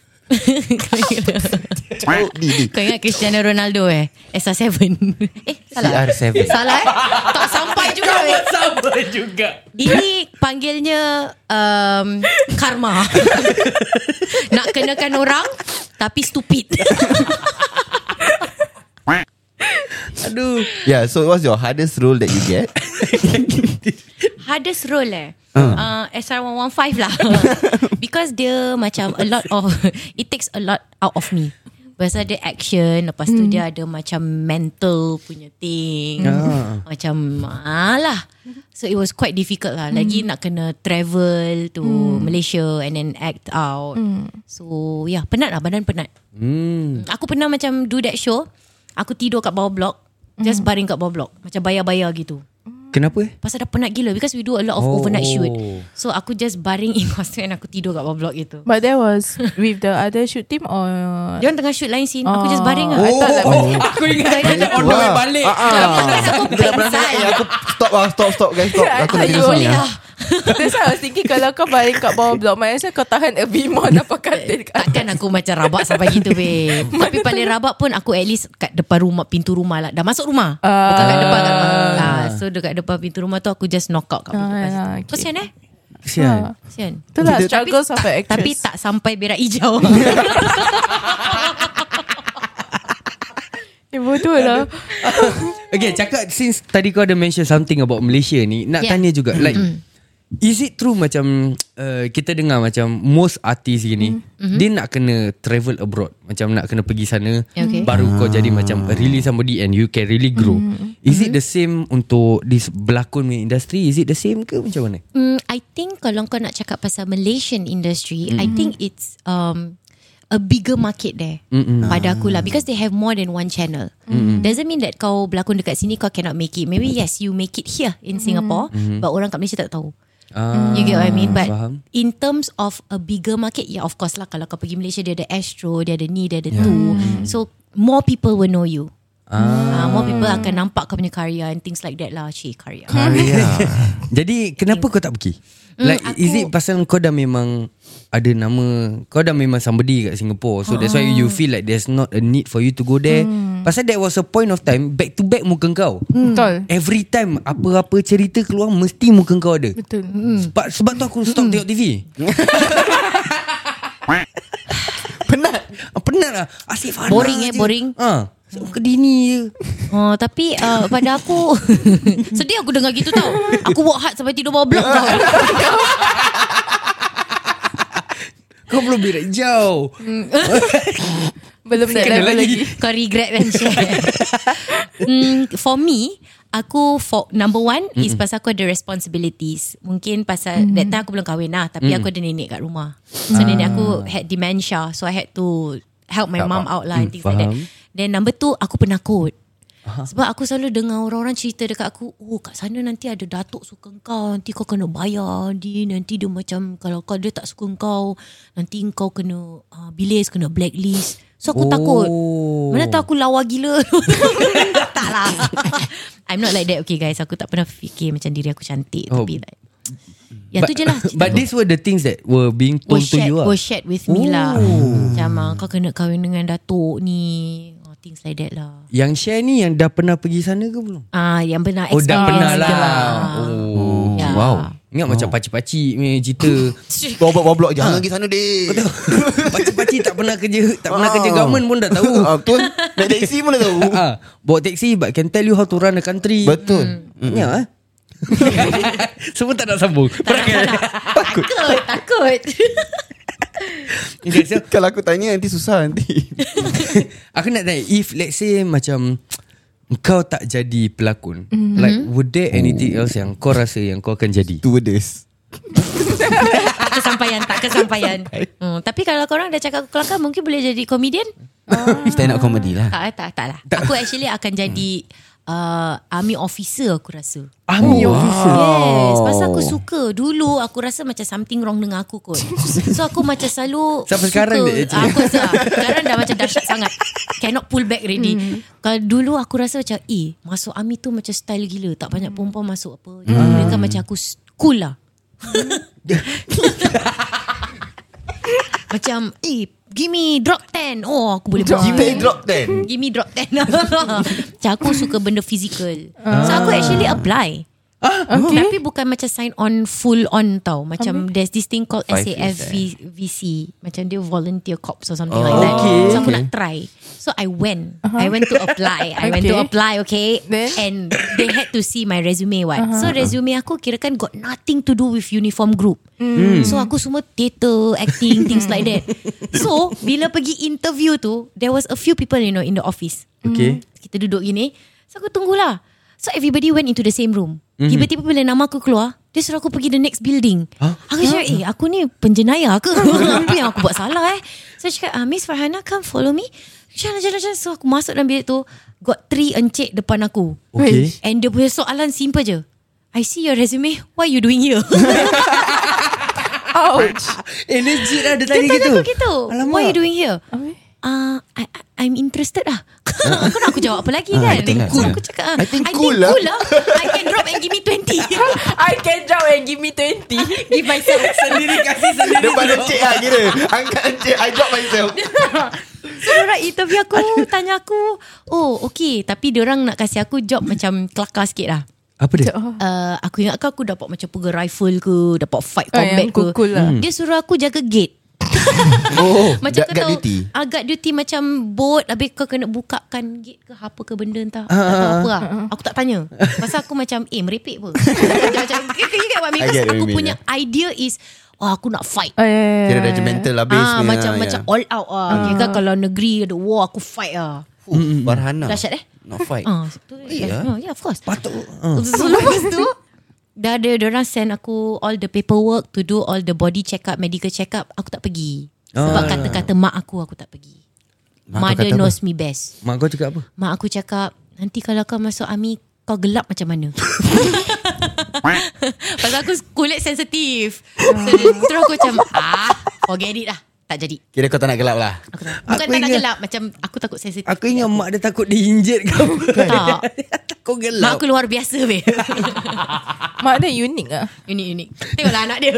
Kau ingat Cristiano Ronaldo eh SR7 Eh salah
CR7
Salah eh Tak sampai juga babe.
Sama juga
Ini panggilnya um, karma. Nak kenakan orang tapi stupid.
Aduh
Yeah so what's your hardest role that you get
Hardest role eh.
Ah.
Uh, SR115 lah Because dia macam A lot of It takes a lot out of me Lepas tu ada action Lepas tu dia ada macam mental punya thing
Ah.
Macam Alah So it was quite difficult lah Lagi nak kena travel to Malaysia And then act out So yeah penat lah badan penat
Hmm.
Aku pernah macam do that show Aku tidur kat bawah blok Just baring kat bawah blok Macam bayar-bayar gitu
Kenapa eh?
Pasal dah penat gila Because we do a lot of
Oh.
overnight shoot So aku just baring in hostel And aku tidur kat bawah blok gitu
But that was with the other shoot team or
Dia orang tengah shoot lain scene Aku just baring lah
I thought like
Oh, aku ingat dia on the way
Wah. Ah,
balik.
Ah,
Bukan aku
Eh,
pensal
aku stop lah, stop, stop guys, stop. Aku nak tidur sini
Ayuh.
lah.
That's why I was thinking Kalau kau baring kat bawah blok Might as well kau tahan a bit more Dapat katil kat
Takkan aku macam rabak sampai gitu babe Tapi paling rabak pun Aku at least kat depan rumah Pintu rumah lah Dah masuk rumah Bukan kat depan kat rumah ah, So dekat depan pintu rumah tu Aku just knock out kat pintu
Ah,
depan
ah,
situ. Kesian eh
Kesian.
Kesian
Itulah
Tapi-
struggles of an actress
Tapi tak sampai berak hijau
Eh bodoh lah
Okay, cakap since tadi kau ada mention something about Malaysia ni, nak yeah. Mm-hmm.
Yeah.
tanya juga like is it true macam uh, kita dengar macam most artis gini mm-hmm. dia nak kena travel abroad, macam nak kena pergi sana
Okay.
baru kau jadi macam really somebody and you can really grow. Mm-hmm. Is it the same untuk this berlakon punya industri? Is it the same ke macam mana?
Mm, I think kalau kau nak cakap pasal Malaysian industry, mm. I think it's um a bigger market there. Mm-mm. Pada aku lah because they have more than one channel. Mm-mm. Doesn't mean that kau berlakon dekat sini kau cannot make it. Maybe yes you make it here in Singapore, mm. but orang kat Malaysia tak tahu. Mm,
Ah,
You get what I mean But
faham.
in terms of A bigger market Yeah of course lah Kalau kau pergi Malaysia Dia ada Astro Dia ada ni Dia ada yeah. tu So more people will know you ah. uh, More people akan nampak Kau punya karya And things like that lah Cik karya
Jadi kenapa kau tak pergi? Like
Ya. Hmm, aku-
is it pasal kau dah memang ada nama Kau dah memang somebody kat Singapore So
Ah.
that's why you feel like There's not a need for you to go there
Hmm.
Pasal there was a point of time Back to back muka kau
Betul
Every time Apa-apa cerita keluar Mesti muka kau ada
Betul
Hmm.
sebab, sebab tu aku stop tengok TV Penat Penat lah Asyik Farah
Boring eh,
je.
boring.
ha. So, kedini je
Oh, tapi uh, pada aku Sedih aku dengar gitu tau Aku work hard sampai tidur bawah blok tau
Kau belum berat jauh
Belum nak
Kena
level lagi
lagi.
Kau regret kan share mm, For me Aku for number one mm is pasal aku ada responsibilities. Mungkin pasal mm. that time aku belum kahwin lah tapi mm. aku ada nenek kat rumah. So ah. nenek aku had dementia so I had to help my
Help
mum
out.
out lah and
Mm,
things like that.
faham.
Then number two aku penakut. Ah. Sebab aku selalu dengar orang-orang cerita dekat aku Oh kat sana nanti ada datuk suka kau Nanti kau kena bayar dia Nanti dia macam Kalau kau dia tak suka kau Nanti kau kena uh, bilis Kena blacklist So
Oh.
aku oh. takut Mana tahu aku lawa gila Tak lah I'm not like that Okay guys Aku tak pernah fikir Macam diri aku cantik
Oh.
oh. Tapi like Ya tu je lah cerita
But
aku.
these were the things that Were being told
was
to
shared,
you lah
was shared with
Oh.
me lah Macam ah, kau kena kahwin dengan datuk ni oh, Things like that lah
Yang share ni yang dah pernah pergi sana ke belum?
Ah, yang pernah
Oh dah pernah lah. Oh.
Ya.
Wow.
Ingat macam pakcik-pakcik punya cerita
Boblok-boblok jangan pergi sana deh.
Pakcik-pakcik tak pernah kerja Tak pernah
Ah.
kerja government pun dah tahu
Ah, Betul. Naik taxi pun dah tahu.
ha, Bawa taxi but can tell you how to run a country
Betul.
Ingat ah. Semua tak nak sambung Perangai.
Takut Takut
Okay, so,
Kalau aku tanya nanti susah nanti.
Aku nak tanya If let's say macam Kau tak jadi pelakon Like would there anything else Yang kau rasa yang kau akan jadi
Two days.
Tak kesampaian Tak kesampaian hmm, Tapi kalau korang dah cakap aku kelakar Mungkin boleh jadi komedian
Stand up comedy lah.
Tak eh, tak tak lah Aku actually akan jadi uh, Army officer aku rasa
Army oh, officer
Yes Pasal aku suka Dulu aku rasa macam Something wrong dengan aku kot So aku macam selalu
Sampai
suka.
sekarang dia
Ah, Aku rasa ah, Sekarang dah macam dahsyat sangat Cannot pull back already
Hmm.
Kalau dulu aku rasa macam Eh masuk army tu macam style gila Tak
Hmm.
banyak perempuan masuk apa Dia kan macam aku s- Cool lah Macam Eh give me drop 10 Oh aku boleh buat
Kita drop 10.
Give me drop 10 Macam aku suka benda physical So aku actually apply
Okay.
Tapi bukan macam sign on full on tau. Macam
Habis?
there's this thing called
Five eh?
SAFVC. Macam dia volunteer corps or something
Oh,
like that.
okay.
So aku
Okay.
nak try. So I went. I went to apply. I went to
Uh-huh. Okay.
apply, okay?
Then? Uh-huh.
And they had to see my resume what. So resume aku kira kan got nothing to do with uniform group. So aku semua theatre, acting, things like that. So bila pergi interview tu, there was a few people you know in the office.
Okay.
Kita duduk gini So aku tunggulah So everybody went into the same room
Mhm.
mm-hmm. Tiba-tiba bila nama aku keluar Dia suruh aku pergi the next building huh? Aku cakap Eh aku ni penjenayah ke Apa yang aku buat salah eh So aku cakap ah, Miss Farhana come follow me Jalan jalan jalan So aku masuk dalam bilik tu Got three encik depan aku
Okay.
And dia punya soalan simple je I see your resume What you doing here
Ouch.
Eh legit lah dia
Dia
tanya gitu.
tanya aku gitu What you doing here
Habis?
uh, I, I, I'm interested lah Kau nak aku jawab apa lagi kan
Ah. I think cool.
Aku cakap ah,
I think cool lah.
cool lah I can drop and give me 20
I can jump and give me 20.
Give myself
Sendiri kasih sendiri.
Depan encik lah kira Angkat encik I drop myself
So diorang interview aku Tanya aku Oh okay Tapi diorang nak kasih aku job Macam kelakar sikit lah
Apa dia?
Uh, aku ingat kau aku dapat macam pegang rifle ke Dapat fight
Ah,
combat
yang
ke
cool-cool lah.
Hmm.
Dia suruh aku jaga gate
Oh
Macam
guard duty
ah, guard duty macam boat Habis kau kena bukakan gate ke apa ke benda entah
Ha,
Aku tak tahu apa lah Aku tak tanya Pasal aku macam Eh merepek apa Macam You get- you get what I mean
I
Because
get what you
aku
mean,
punya idea is Wah aku nak fight
Oh, yeah, yeah,
Kira
yeah.
regimental lah base
Ah,
punya,
macam
ya.
macam all out ah. Kira kan kalau negeri ada war aku fight ah.
Fuh, Farhana
Dahsyat, eh?
Not fight
Ah, tu,
Ya.
yeah. yeah, of course.
Patut. Ah.
So lepas tu Dah ada orang send aku All the paperwork To do all the body check up Medical check up Aku tak pergi
Ah,
Sebab kata-kata mak aku Aku tak pergi
kau
Mother
kata apa?
knows me best
Mak kau cakap apa?
Mak aku cakap Nanti kalau kau masuk army Kau gelap macam mana Pasal aku kulit sensitif so, dia-
Hmm.
Terus aku macam Ah Forget it lah Tak jadi
Kira kau tak nak gelap lah
aku tak, Bukan
Aku
tak nak
ingat-
gelap Macam aku takut sensitif
Aku ingat mak dia takut diinjet kau.
Tak.
Kau
Mak
gelap.
aku luar biasa weh
Mak dia unik lah.
Unik-unik Tengoklah anak dia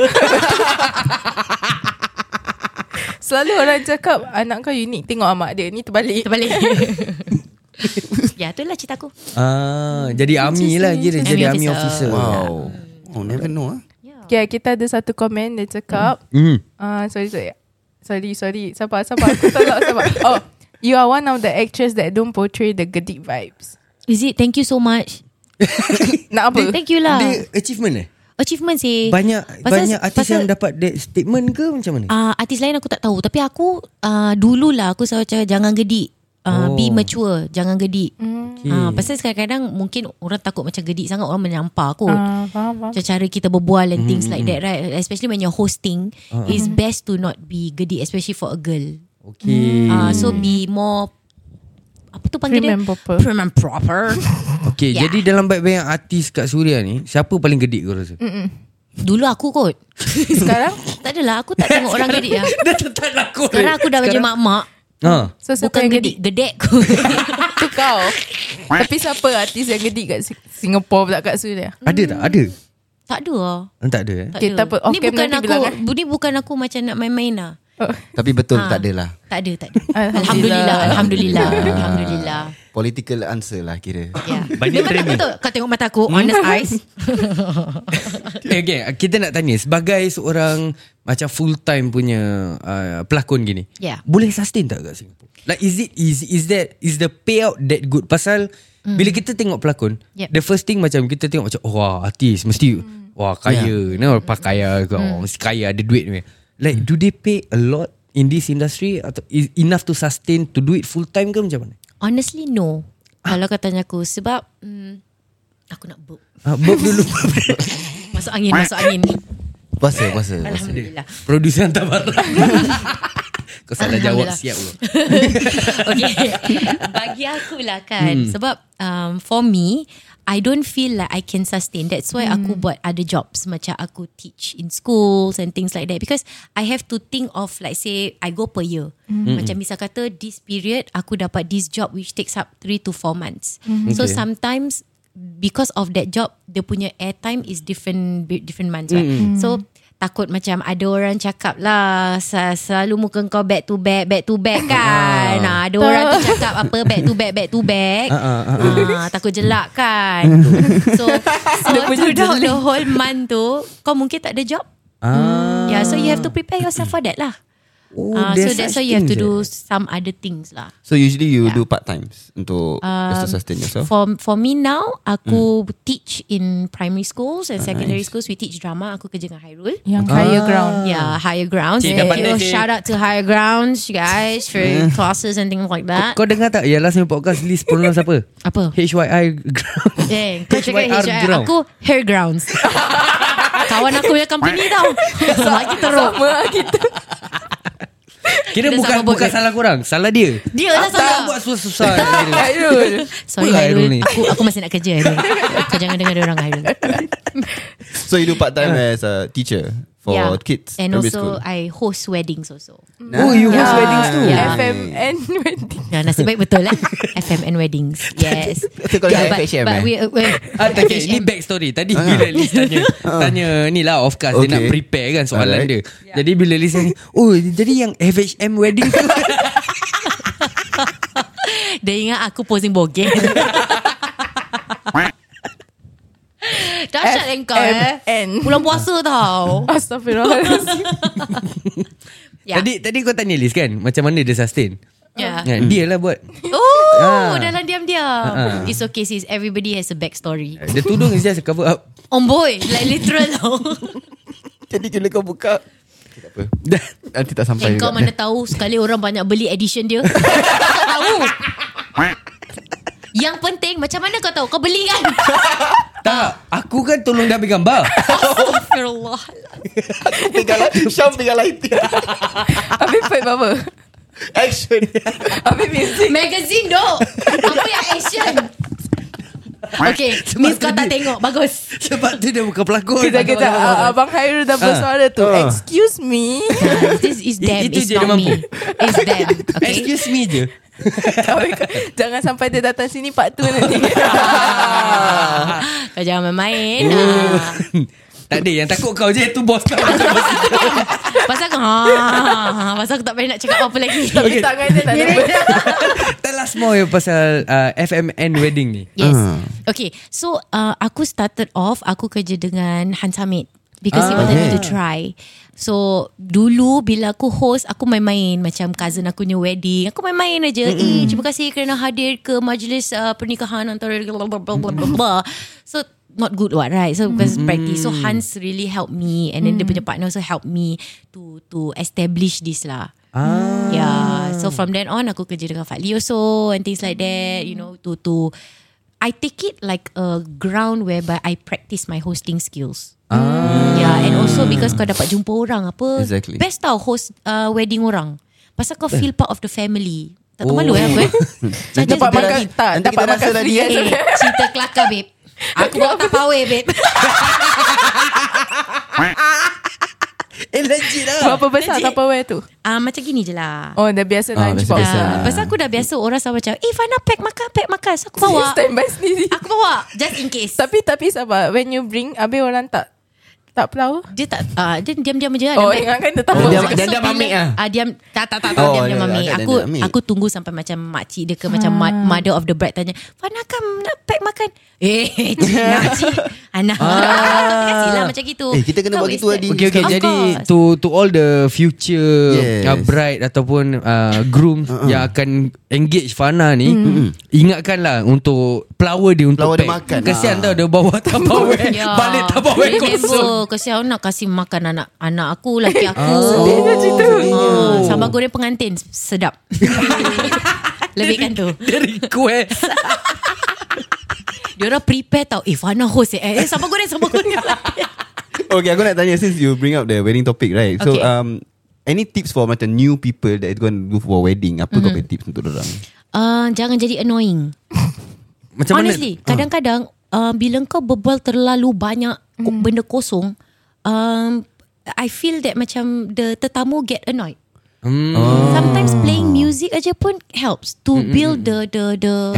Selalu orang cakap anak kau unik tengok amak dia. Ni terbalik.
Terbalik Ya itulah cerita aku
Ah, jadi army lah kira
Army
jadi army
officer.
officer.
Wow Oh never know ah.
Okay, kita ada satu komen dia cakap.
Hmm.
Ah, sorry, sorry. Sorry, sorry. Sabar, sabar. Aku tolak, sabar. Oh, you are one of the actress that don't portray the gedik vibes.
Is it thank you so much
Nak apa?
Thank you lah
Dia achievement eh?
Achievement sih
Banyak banyak artis yang dapat that statement ke macam mana?
uh, Artis lain aku tak tahu Tapi aku uh, Dululah aku selalu cakap Jangan gedik
Oh.
uh,
Hmm.
Be mature Jangan gedik
Okay.
Ah, pasal kadang-kadang mungkin orang takut macam gedik sangat orang menyampah kot.
Ah, faham, faham.
Macam cara kita berbual
Hmm,
and things like that right especially when you're hosting
Ah.
it's best to not be gedik especially for a girl
Okay.
Ah, so be more apa tu panggil
Prim
dia
and proper.
prim and proper
Okay,
Yeah.
jadi dalam banyak-banyak artis kat Suria ni, siapa paling gedik kau rasa?
Mm, dulu aku kot
Sekarang?
tak adalah aku tak tengok orang gedik lah
Dah tertan aku.
sekarang aku dah macam mak-mak
Ha.
So, siapa
bukan
yang
gedik gedek aku
Tu kau. Tapi siapa artis yang gedik kat Sing- Singapore pula kat Suria?
Ada tak? Ada.
tak ada lah
Eh, Tak ada eh.
tak
Okay,
ada.
tak apa. Off
ni
cam
bukan
nanti
aku
bilang, eh.
ni bukan aku macam nak main-main lah
Oh.
Tapi betul
Ah.
tak adalah
tak ada tak ada
Alhamdulillah.
alhamdulillah alhamdulillah alhamdulillah
Political answer lah kira
Yeah.
Banyak
Memang
training. Hmm?
tak betul. Kau tengok mata aku Honest eyes
Okay, Eh, okay, kita nak tanya sebagai seorang macam full time punya uh, pelakon gini.
Yeah.
Boleh sustain tak kat Singapura? Like is it is is that is the payout that good? Pasal mm. bila kita tengok pelakon,
Yep.
the first thing macam kita tengok macam oh, wah artis mesti mm. wah kaya, yeah. no pakaya ke, oh, mesti kaya ada duit ni. Like do they pay a lot in this industry atau is enough to sustain to do it full time ke macam mana?
Honestly no Kalau kau tanya aku Sebab mm, Aku nak burp
Uh, Bob dulu
Masuk angin Masuk angin
Puasa puasa puasa.
Alhamdulillah
Producer hantar barang Kau salah jawab
Alhamdulillah.
siap bro
Okay Bagi aku lah kan Sebab um, For me I don't feel like I can sustain That's why aku buat other jobs Macam aku teach in schools And things like that Because I have to think of Like say I go per year Macam misal kata This period Aku dapat this job Which takes up 3 to 4 months So
Okay.
sometimes Because of that job Dia punya airtime Is different Different months right So takut macam ada orang cakap lah "Sa- selalu muka kau back to back back to back kan nah, ada orang tu cakap apa back to back back to back ah, takut jelak kan so so throughout the whole month tu kau mungkin tak ada job
Ah.
yeah so you have to prepare yourself for that lah
Oh,
Ah, so
there's
that's
such
why you have to
things,
do
eh?
some other things lah.
So usually you
Yeah. Um,
do part times untuk just to sustain yourself.
For for me now, aku teach in primary schools and secondary schools. We teach drama. Aku kerja dengan Hairul.
Ah.
Yang kaya ground
Yeah, higher grounds.
Cik,
Thank
dapat
you.
tak, Cik?
Shout out to higher grounds, you guys, for classes and things like
Ah,
that.
Kau dengar tak Yang last punya podcast List pronoun siapa
Apa?
HYI ground
Eh, kau cakap
HYR
HYR.
ground.
Aku hair grounds. Kawan aku punya company tau. Lagi teruk.
lah
Kira
Kita
bukan
sama boat,
bukan
eh?
salah korang Salah dia
Dia lah
Tak
salah.
buat susah-susah Ah,
Sorry
Apa Hairul
Hairul.
ni?
Aku aku masih nak kerja Hairul. Kau jangan dengar dia orang Hairul.
So you do part time as a teacher for kids
And
primary
also
school.
I host weddings also.
Oh you host
Yeah.
weddings too
Yeah.
Ya.
FMN wedding
Ya, nasib baik betul lah. FMN weddings. Yes.
Itu kalau
Yeah,
FHM,
but
eh?
we, uh, we,
Ah, tak, okay, ni back story Tadi bila Liz tanya Tanya ni lah Of course Dia
Ah. Okay.
nak prepare kan Soalan
Alright.
dia
Ya.
Jadi bila Liz tanya Oh jadi yang FHM wedding tu
Dia ingat aku posing bogey. Dahsyat engkau eh.
FMN.
Bulan puasa tau.
Astagfirullahaladzim
Ya.
Tadi tadi kau tanya Liz kan Macam mana dia sustain
Ya.
Kan, Dia lah buat
Oh,
Ah.
dalam diam-diam.
Ah.
It's okay sis. Everybody has a backstory.
The tudung is just a cover up
On boy, like literal tau.
Jadi bila kau buka tak apa. Nanti tak sampai Hmm.
Engkau mana tahu sekali orang banyak beli edition dia. kau tak tahu. Yang penting macam mana kau tahu? Kau beli kan?
Tak Aku kan tolong dia ambil gambar
Oh, Astagfirullah.
Pegang lighting Syam pegang lighting
Habis fight apa
Action
Habis music
Magazine dok. Apa yang action? Okay, Miss kau tak tengok. Bagus.
Sebab tu dia bukan pelakon
Kejap kejap Ah, Abang Khairul dah bersuara tu
Ah.
Excuse me
This is them.
Itu
It's
je dia
not me.
mampu.
It's them. Okay.
Excuse me je
Jangan sampai dia datang sini part 2 nanti
Kau jangan main-main. Ah.
Oh. Tak ada yang takut kau je Itu bos kau
Pasal aku ha, Pasal aku tak payah nak cakap apa lagi
Tapi tangan dia tak ada
Tell us more ya pasal uh, FMN wedding ni.
Yes Okay So uh, aku started off Aku kerja dengan Hans Hamid Because he wanted me to try So Dulu bila aku host Aku main-main Macam cousin aku punya wedding Aku main-main aja eh, Terima kasih kerana hadir ke Majlis uh, pernikahan Antara blah, blah, blah, blah, blah, blah. So Not good what right So because practice So Hans really helped me And then dia punya partner also helped me To to establish this lah
Ah.
Yeah. So from then on aku kerja dengan Fadli also and things like that, you know, to to I take it like a ground whereby I practice my hosting skills. Ah. Yeah, and also because kau dapat jumpa orang apa.
Exactly.
Best tau host uh, wedding orang. Pasal kau feel part of the family. Tak tahu malu
Oh.
eh aku eh. So, I just
Dapat
do
makan
it.
Tak
nanti
Dapat
kita
makan
rasa
free
dah
Eh,
eh.
cerita kelakar babe. Aku bawa tak power babe.
Eh legit lah.
Berapa besar
Legit.
Tupperware tu
Ah macam gini je lah.
Oh dah biasa
Ah,
lunch
biasa,
box
biasa.
Ah, pasal aku dah biasa orang sama macam, "Eh Fana pack makan, pack makan." So aku bawa.
Stand by sendiri
Aku bawa Just in case
Tapi tapi sabar When you bring Habis orang tak Tak flower
Dia tak uh, Dia diam-diam je lah
Oh
dalam beg.
ingatkan dia tak
Oh,
flower
dia- dia- dia
bila-
ambil ah?
ah, Diam Tak tak tak, tak
Oh,
Diam diam
dia-
ambil
dia- dia
Aku
ambil. Ah.
aku tunggu sampai macam Makcik dia ke Macam ma- mother of the bride Tanya Fana kan nak pack makan Eh Makcik Anak Kasih lah macam gitu
Ah. Eh, kita kena buat
Kau
gitu,
wasted.
Adi.
Okay okay
Of
jadi
course.
to to all the future
Yes.
yes. uh, bride ataupun uh, groom uh-uh. yang akan engage Fana ni mm. ingatkanlah untuk flower dia
Mm-hmm.
untuk
Flower dia
pack.
makan.
Kesian
Ah.
tau dia bawa tapau
Ya.
balik tapau kosong.
Remember Kesian nak kasih makan anak Anak aku Laki
Ah,
aku
Sedih lah cerita
Ah, Sambal goreng pengantin Sedap Lebihkan tu
Dia request
Dia orang prepare tau Eh Fana host eh Eh sambal goreng Sambal goreng
Okay aku nak tanya Since you bring up the wedding topic right So
Okay.
um Any tips for macam new people That is going to do for wedding
Mm-hmm.
Apa kau punya tips untuk orang?
uh, Jangan jadi annoying
Macam Ah.
Honestly Kadang-kadang uh, Bila kau berbual terlalu banyak mm. Benda kosong um, I feel that macam The tetamu get annoyed
Hmm.
Sometimes playing music aja pun helps to build the the the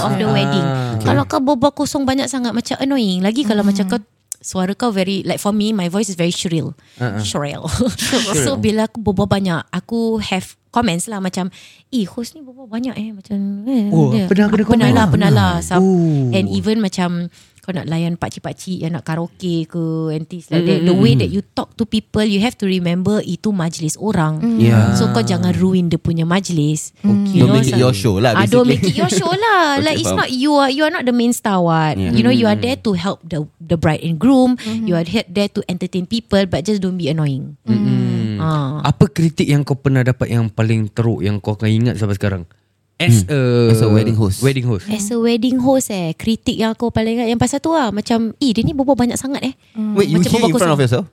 Atmosphere.
of the wedding. Kalau kau berbual kosong banyak sangat macam annoying. Lagi kalau macam kau suara kau very like for me my voice is very shrill. Uh-uh. Shrill. so bila aku berbual banyak, aku have comments lah macam eh host ni berbual banyak eh macam eh,
Oh, pernah kena
Aku pernah
komen?
lah pernah lah Some-
Oh.
and even macam kau nak layan pakcik-pakcik yang nak karaoke ke and things like that the way that you talk to people you have to remember itu majlis orang
Yeah.
so kau jangan ruin dia punya majlis
Okay.
You
Don't
know,
make it
so-
your show lah basically.
Ah, don't make it your show lah.
Okay,
like it's
faham.
not you are you are not the main star what.
Yeah. Mm.
You know you are there to help the the bride and groom. You are here, there to entertain people, but just don't be annoying. Mm. Ah.
Apa kritik yang kau pernah dapat yang paling teruk yang kau akan ingat sampai sekarang? As a
Hmm. As a wedding host.
Wedding host.
As a wedding host eh Kritik yang aku paling ingat Yang pasal tu lah Macam Eh dia ni berbual banyak sangat eh
Wait, you
Macam
hear in
berbual
front of
kosong.
yourself?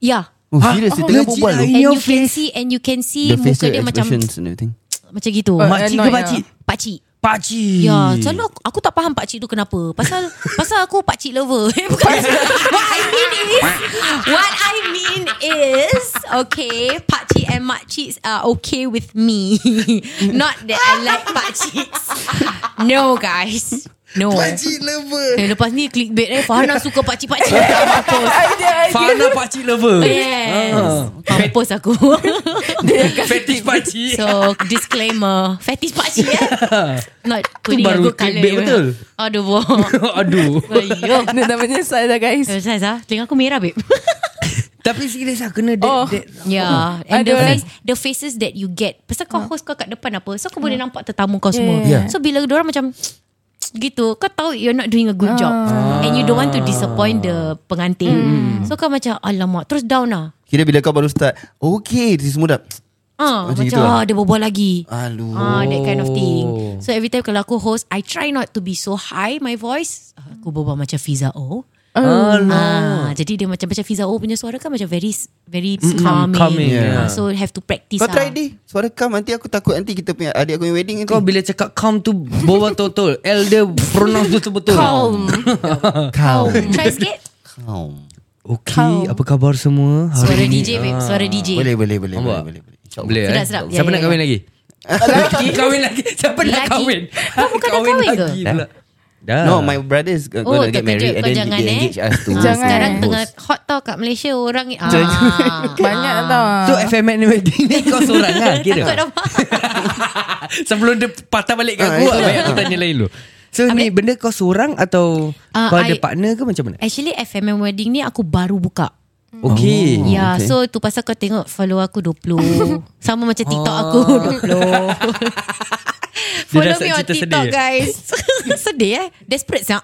Yeah
Oh, serious? Dia tengah
legit
berbual
lah.
tu.
And
your
you can see And you can see
The
Muka
facial
dia macam
expressions and everything.
Macam gitu
Oh,
Makcik ke
annoyed lah.
pakcik?
Pakcik
Pakcik.
Ya,
Hmm.
selalu aku, aku tak faham pakcik tu kenapa. Pasal pasal aku pakcik lover. Eh, Bukan. what I mean is, what I mean is, okay, pakcik and makciks are okay with me. Not that I like pakciks. No, guys. No. Pakcik lover. Eh, lepas ni clickbait eh. Farhana suka pakcik-pakcik.
lah.
Mampus.
Fana pakcik lover.
Yes.
Ah.
Mampus aku.
Fetish pakcik.
So disclaimer Fetish pakcik eh Not putting a
baru
good colour eh?
clickbait betul.
Aduh boh
Aduh.
Ayuh
Ni namanya saya dah guys.
Eh, Saiz ah Telinga aku merah babe
Tapi serius lah kena that,
Oh.
that.
Yeah Ya, And
Ada
the
orang-
face The faces that you get Pasal kau host kau kat depan apa So kau boleh nampak tetamu kau semua
Yeah.
So bila orang macam Gitu Kau tahu you're not doing a good job And you don't want to disappoint the pengantin So kau macam Alamak Terus down lah
Kira bila kau baru start, oh, okay, this semua dah.
Ah,
Macam
macam
gitu lah.
ah, dia berbual lagi
Aduh.
Ah, that kind of thing.
Oh.
So every time kalau aku host, I try not to be so high my voice. Aku berbual macam Fiza O. Ah, jadi dia macam macam Fiza O punya suara kan macam very very calming.
calming, yeah.
Ah, so have to practice.
Kau
ah.
try deh. Suara kam nanti aku takut nanti kita punya adik aku punya wedding nanti.
Kau bila cakap calm tu bawa betul-betul. L dia pronounce tu betul.
Calm.
kau.
try sikit.
Kau.
Okay, apa khabar semua? Hari
Suara
ni-
DJ babe, suara DJ.
Boleh, boleh, boleh.
Nampak?
Boleh, boleh. boleh. InsyaAllah.
Boleh
Sedap,
eh?
sedap. Ya,
Siapa nak
ya, ya.
kahwin lagi? Lagi kahwin lagi. Siapa nak
Lagi.
kahwin?
Kau bukan dah kahwin ke?
pula. Dah.
No, my brother is going
Oh,
to get
terkejut.
married and
Kau
then
jangan,
they
eh.
engage us to
Ah,
Jangan.
sekarang
host.
tengah hot tau kat Malaysia orang ni. Ah.
Banyak tau.
So FMN ni wedding ni kau seorang lah kira.
Takut nampak.
Sebelum dia patah balik
Ah,
kat
itu.
aku Baik aku tanya lain dulu So ni benda kau seorang Atau
Ah,
Kau ada
I-
partner ke macam mana
Actually FMM wedding ni aku baru buka.
Okay
Oh, yeah,
okay.
okay. so tu pasal kau tengok follow aku 20. Sama macam TikTok
Ah.
aku 20. follow
rasa
me on
cerita
TikTok
sedih.
guys. sedih eh. Desperate siap.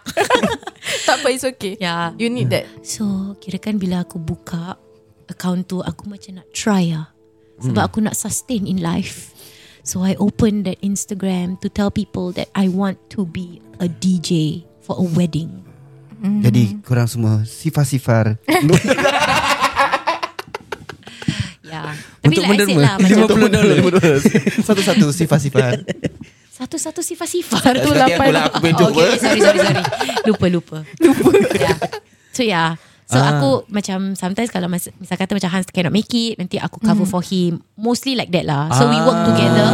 tak apa, it's okay.
Ya.
Ya.
Yeah.
You need that.
so, kirakan bila aku buka account tu aku macam nak try ah. Sebab
Hmm.
aku nak sustain in life. So I opened that Instagram to tell people that I want to be a DJ for a wedding. hmm.
Jadi korang semua sifar-sifar.
Yeah. Tapi
Ya. Untuk
like I said
menderma.
lah macam
Untuk
Satu-satu sifar-sifar.
Satu-satu sifar-sifar tu
Seperti aku lah,
Oh,
aku punya joke,
okay,
eh.
sorry, sorry, sorry Lupa, lupa Lupa yeah. So yeah So ah. aku macam Sometimes kalau mas, Misal kata macam Hans cannot make it Nanti aku cover mm. for him Mostly like that lah So ah. we work together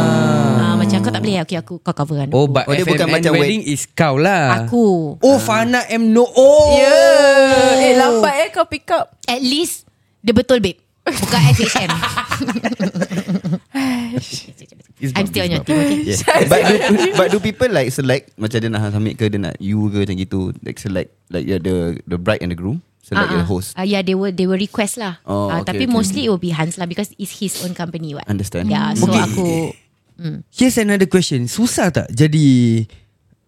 ah, Macam kau tak boleh Okay aku kau cover kan
Oh but
Oh, dia
FMN
bukan macam
wedding is kau lah
Aku
Oh Fana M no Oh
Yeah. Ya. Eh, lambat eh kau pick up.
At least Dia betul babe Bukan FHM I'm still on your team okay
Yeah. But do, but do people like select macam dia nak Hamid ke dia nak you ke macam gitu like select like yeah, the the bride and the groom select
Ah,
your
ah.
host.
Ah, yeah, they will they will request lah.
Oh,
Ah,
okay,
tapi
okay.
mostly it will be Hans lah because it's his own company what.
Understand.
Yeah, so
Okay.
aku
Here's another question Susah tak jadi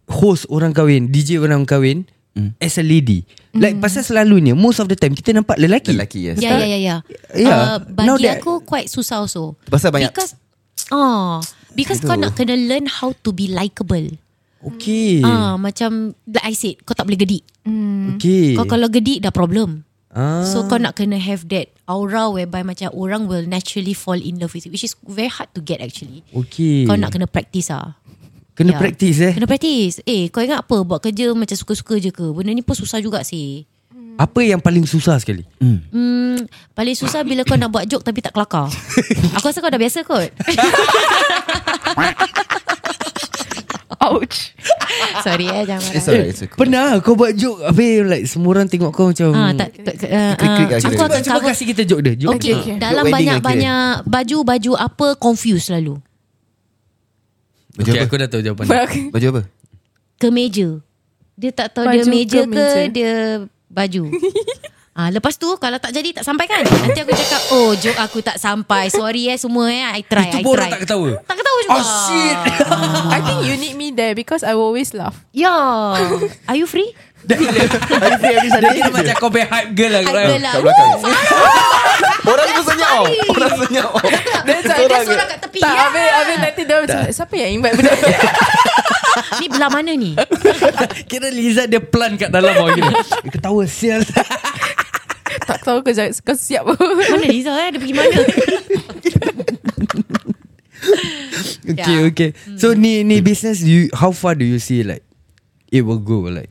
Host orang kahwin DJ orang kahwin As a lady Like pasal selalunya Most of the time Kita nampak lelaki
Lelaki yes.
Yeah, yeah, yeah, yeah.
Yeah, Ya.
ya, Uh,
now
bagi
that-
aku quite susah also.
Pasal banyak-
Because Oh, because kau nak kena learn how to be likable.
Okay
Ah, macam like I said, kau tak boleh gedik.
Okay
Kau kalau gedik dah problem.
Eh. Ah.
So kau nak kena have that aura whereby macam orang will naturally fall in love with you, which is very hard to get actually.
Okay
Kau nak kena practice ah.
Eh. Kena
Ya.
practice eh
Kena practice. Eh, kau ingat apa? Buat kerja macam suka-suka je ke? Benda ni pun susah juga sih.
Apa yang paling susah sekali
Hmm, paling susah bila kau nak buat joke tapi tak kelakar. Aku rasa kau dah biasa kot.
Ouch.
Sorry eh jangan
It's
marah.
alright it's okay.
Pernah kau buat joke Habis like Semua orang tengok kau macam Eh,
Ah, tak, tak, uh,
Klik-klik lah
aku
kira.
akan
Cuba
cover
kasih kita joke dia joke.
Okay,
Okay,
okay.
Dalam
Joke wedding lah kira.
banyak-banyak Baju-baju apa Confused selalu
Baju
okay
apa?
aku dah tahu jawapan dia.
But-
Baju apa?
Kemeja Dia tak tahu dia
Baju
meja ke
kemeja.
Dia baju Ah, lepas tu kalau tak jadi tak sampai kan Nanti aku cakap Oh joke aku tak sampai Sorry eh semua eh I try
Itu
I
pun orang
try Ah.
tak ketawa
Tak ketawa juga
Oh shit
I think you need me there because I will always laugh.
Ya Are you free?
Dia kira macam kau pay hype girl lah
I
kau
will
kan.
lah
Kat belakang Orang tu senyap oh. Orang senyap oh.
There's
Sorang
seorang,
je.
seorang kat tepi
Tak,
ya.
habis, habis nanti dia macam, siapa yang invite benda ni?
Ni belah mana ni?
Kira Liza dia plan kat dalam bawah gini Dia Ketawa sial
tak tahu kau, jangan- kau siap.
Mana Liza eh? Dia pergi mana?
Okay
Yeah.
okay So ni ni business you, How far do you see like It will go like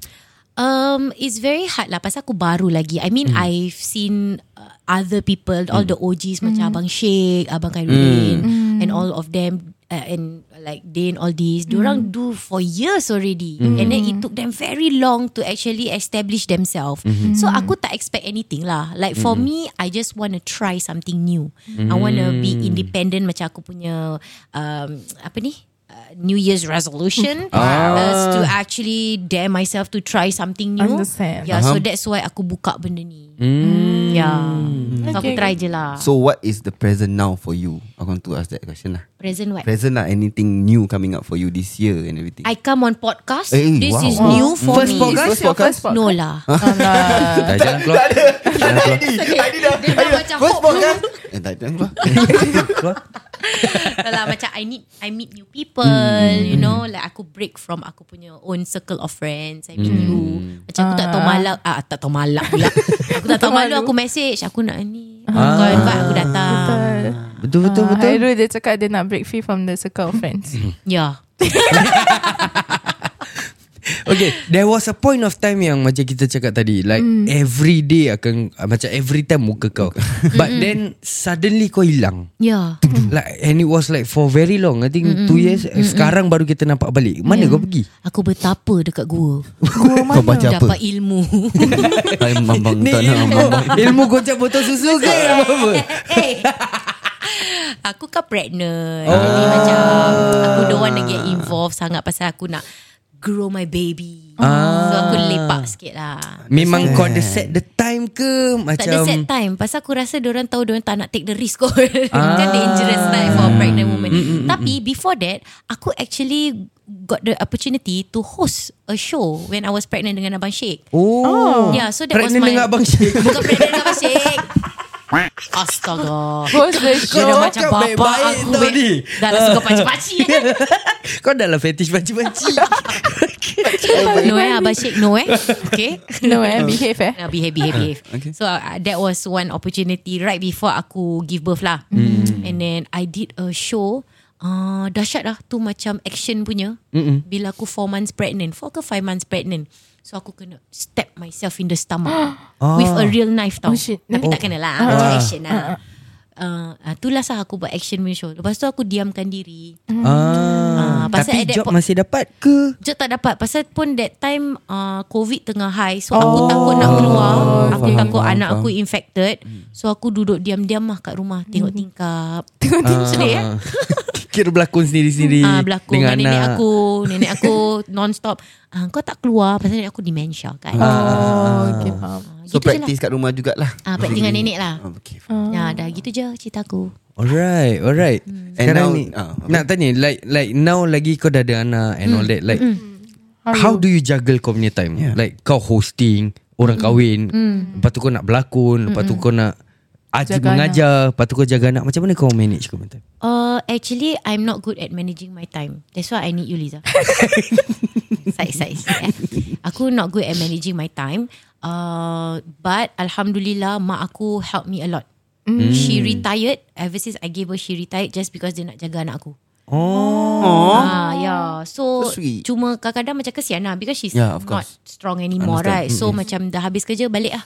Um, it's very hard lah Pasal aku baru lagi I mean I've seen uh, Other people All the OGs Macam Abang Sheikh Abang Khairuddin And all of them uh, And like Dane all these Diorang do for years already And then it took them very long To actually establish themselves So aku tak expect anything lah Like for me I just want to try something new I want to be independent Macam aku punya um, Apa ni uh, New Year's resolution uh, to actually dare myself to try something new.
Understand.
Yeah, so that's why aku buka benda ni. Mm. Yeah. So aku
Okay.
try je lah.
So
So,
what is the present now for you? I want to ask that question lah.
Present what?
Present lah anything new coming up for you this year and everything.
I come on podcast.
Eh,
This
wow.
is
Wow.
new Oh, for
First
me.
podcast?
Is this your first podcast?
No lah.
Dah jalan keluar
Dia dah macam
First
hope.
podcast Eh tak ada keluar
Keluar
lah macam I need I meet new people you know like aku break from aku punya own circle of friends I meet you macam aku tak tahu malak ah tak tahu malak pula aku tak tahu malu
malu.
aku message aku nak ni kau invite aku datang
Betul betul
Ah,
betul
Hairul dia cakap dia nak break free from the circle of friends.
yeah
Okay There was a point of time Yang macam kita cakap tadi Like mm. every day akan uh, Macam every time muka kau But then Suddenly kau hilang
yeah
Like And it was like For very long I think mm two years mm Sekarang baru kita nampak balik Mana kau pergi
aku bertapa dekat gua
Kau baca apa?
dapat ilmu
Time mambang
Ni
tanah
ilmu,
mambang
ilmu gocap botol susu ke Ilmu apa
hey. Eh. aku kan pregnant jadi macam aku don't want to get involved sangat pasal aku nak grow my baby so aku lepak sikit lah
Memang kau ada set the time ke
Tak
Macam
ada set time Pasal aku rasa Diorang tahu Diorang tak nak take the risk kot Kan dangerous time For a pregnant woman Tapi before that Aku actually Got the opportunity To host a show When I was pregnant Dengan Abang Sheikh
Oh
Yeah so that
Pregnant
was my
dengan Abang Sheikh.
Bukan pregnant dengan Abang Sheikh Astaga
Host the
Kau dah
show.
macam
cakap
bapak
baik-baik
aku
tau
babe.
ni.
Dah lah suka pakcik-pakcik kan
Kau dah lah fetish banci-banci
No eh Abang Sheikh no eh Okay
No eh, behave eh.
Nah, behave, behave, behave.
Okay.
So uh, that was one opportunity right before aku give birth lah.
Hmm.
And then I did a show. Uh, dahsyat lah tu macam action punya. Bila aku 4 months pregnant. 4 ke 5 months pregnant. So aku kena stab myself in the stomach. With a real knife
Ah.
tau.
Oh, shit. Ah.
Tapi tak kena lah. Macam action lah. Uh, uh, itulah sah aku buat action punya show. Lepas tu aku diamkan diri.
ah,
Hmm. Ah, pasal
Tapi
at that
job
po-
masih dapat ke
Jod tak dapat Pasal pun that time uh, Covid tengah high So aku takut nak keluar Aku
faham,
takut
faham,
anak
faham.
aku infected So aku duduk diam-diam lah kat rumah Tengok tingkap Sedih eh
Ah. Kira berlakon sendiri-sendiri
Ah, berlakon dengan, nenek
anak.
aku Nenek aku non-stop ah, Kau tak keluar Pasal nenek aku dementia kan
Oh, okay, faham.
So practice kat rumah jugalah
lah. Ah, practice dengan nenek lah.
Okay
je lah. Ya dah gitu je cerita aku
Alright, alright.
Hmm.
now-
Sekarang ni
ah, apa?
nak tanya like like now lagi kau dah ada anak and
Hmm.
all that like how do you juggle kau punya time?
Yeah.
Like kau hosting, orang
Hmm.
kahwin, lepas tu kau nak berlakon, lepas tu kau nak ajar
Jaga
mengajar, lepas tu kau jaga anak. Macam mana kau manage kau punya time?
Uh, actually, I'm not good at managing my time. That's why I need you, Liza. side, side, side. eh. Aku not good at managing my time. Uh, but Alhamdulillah, mak aku helped me a lot.
Mm.
She retired. Ever since I gave her, she retired just because dia nak jaga anak aku.
Oh
Ah, yeah. So,
So sweet.
cuma kadang-kadang macam kesian lah because she's
Yeah, of
not
course.
strong anymore,
Understand.
right? So, macam dah habis kerja, balik lah.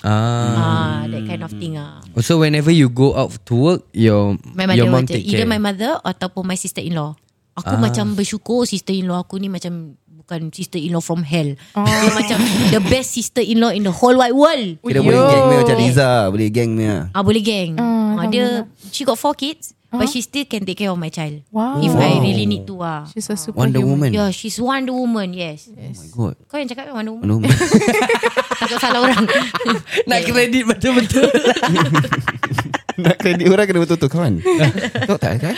Ah.
Ah, that kind of thing ah.
So whenever you go out to work, your
My mother
your mom
will
take
take Either
care.
my mother Ataupun my sister-in-law Aku macam bersyukur Sister-in-law aku ni macam Bukan bukan sister-in-law from hell. Oh. Dia macam the best sister-in-law in the whole wide world.
Kira boleh
Yo.
gang punya macam Liza Boleh gang punya
Ah boleh gang.
Ah,
Ah, dia she got four kids but she still can take care of my child.
Wow.
If I
Wow.
really need to ah.
She's a super
Wonder Woman
Yeah, she's Wonder Woman. Yes.
Oh my god
Kau yang cakap kan Wonder Woman.
Wonder Woman
Takut salah orang.
Nak kredit betul-betul
Nak kredit orang kena betul-betul kawan Kau tak kan?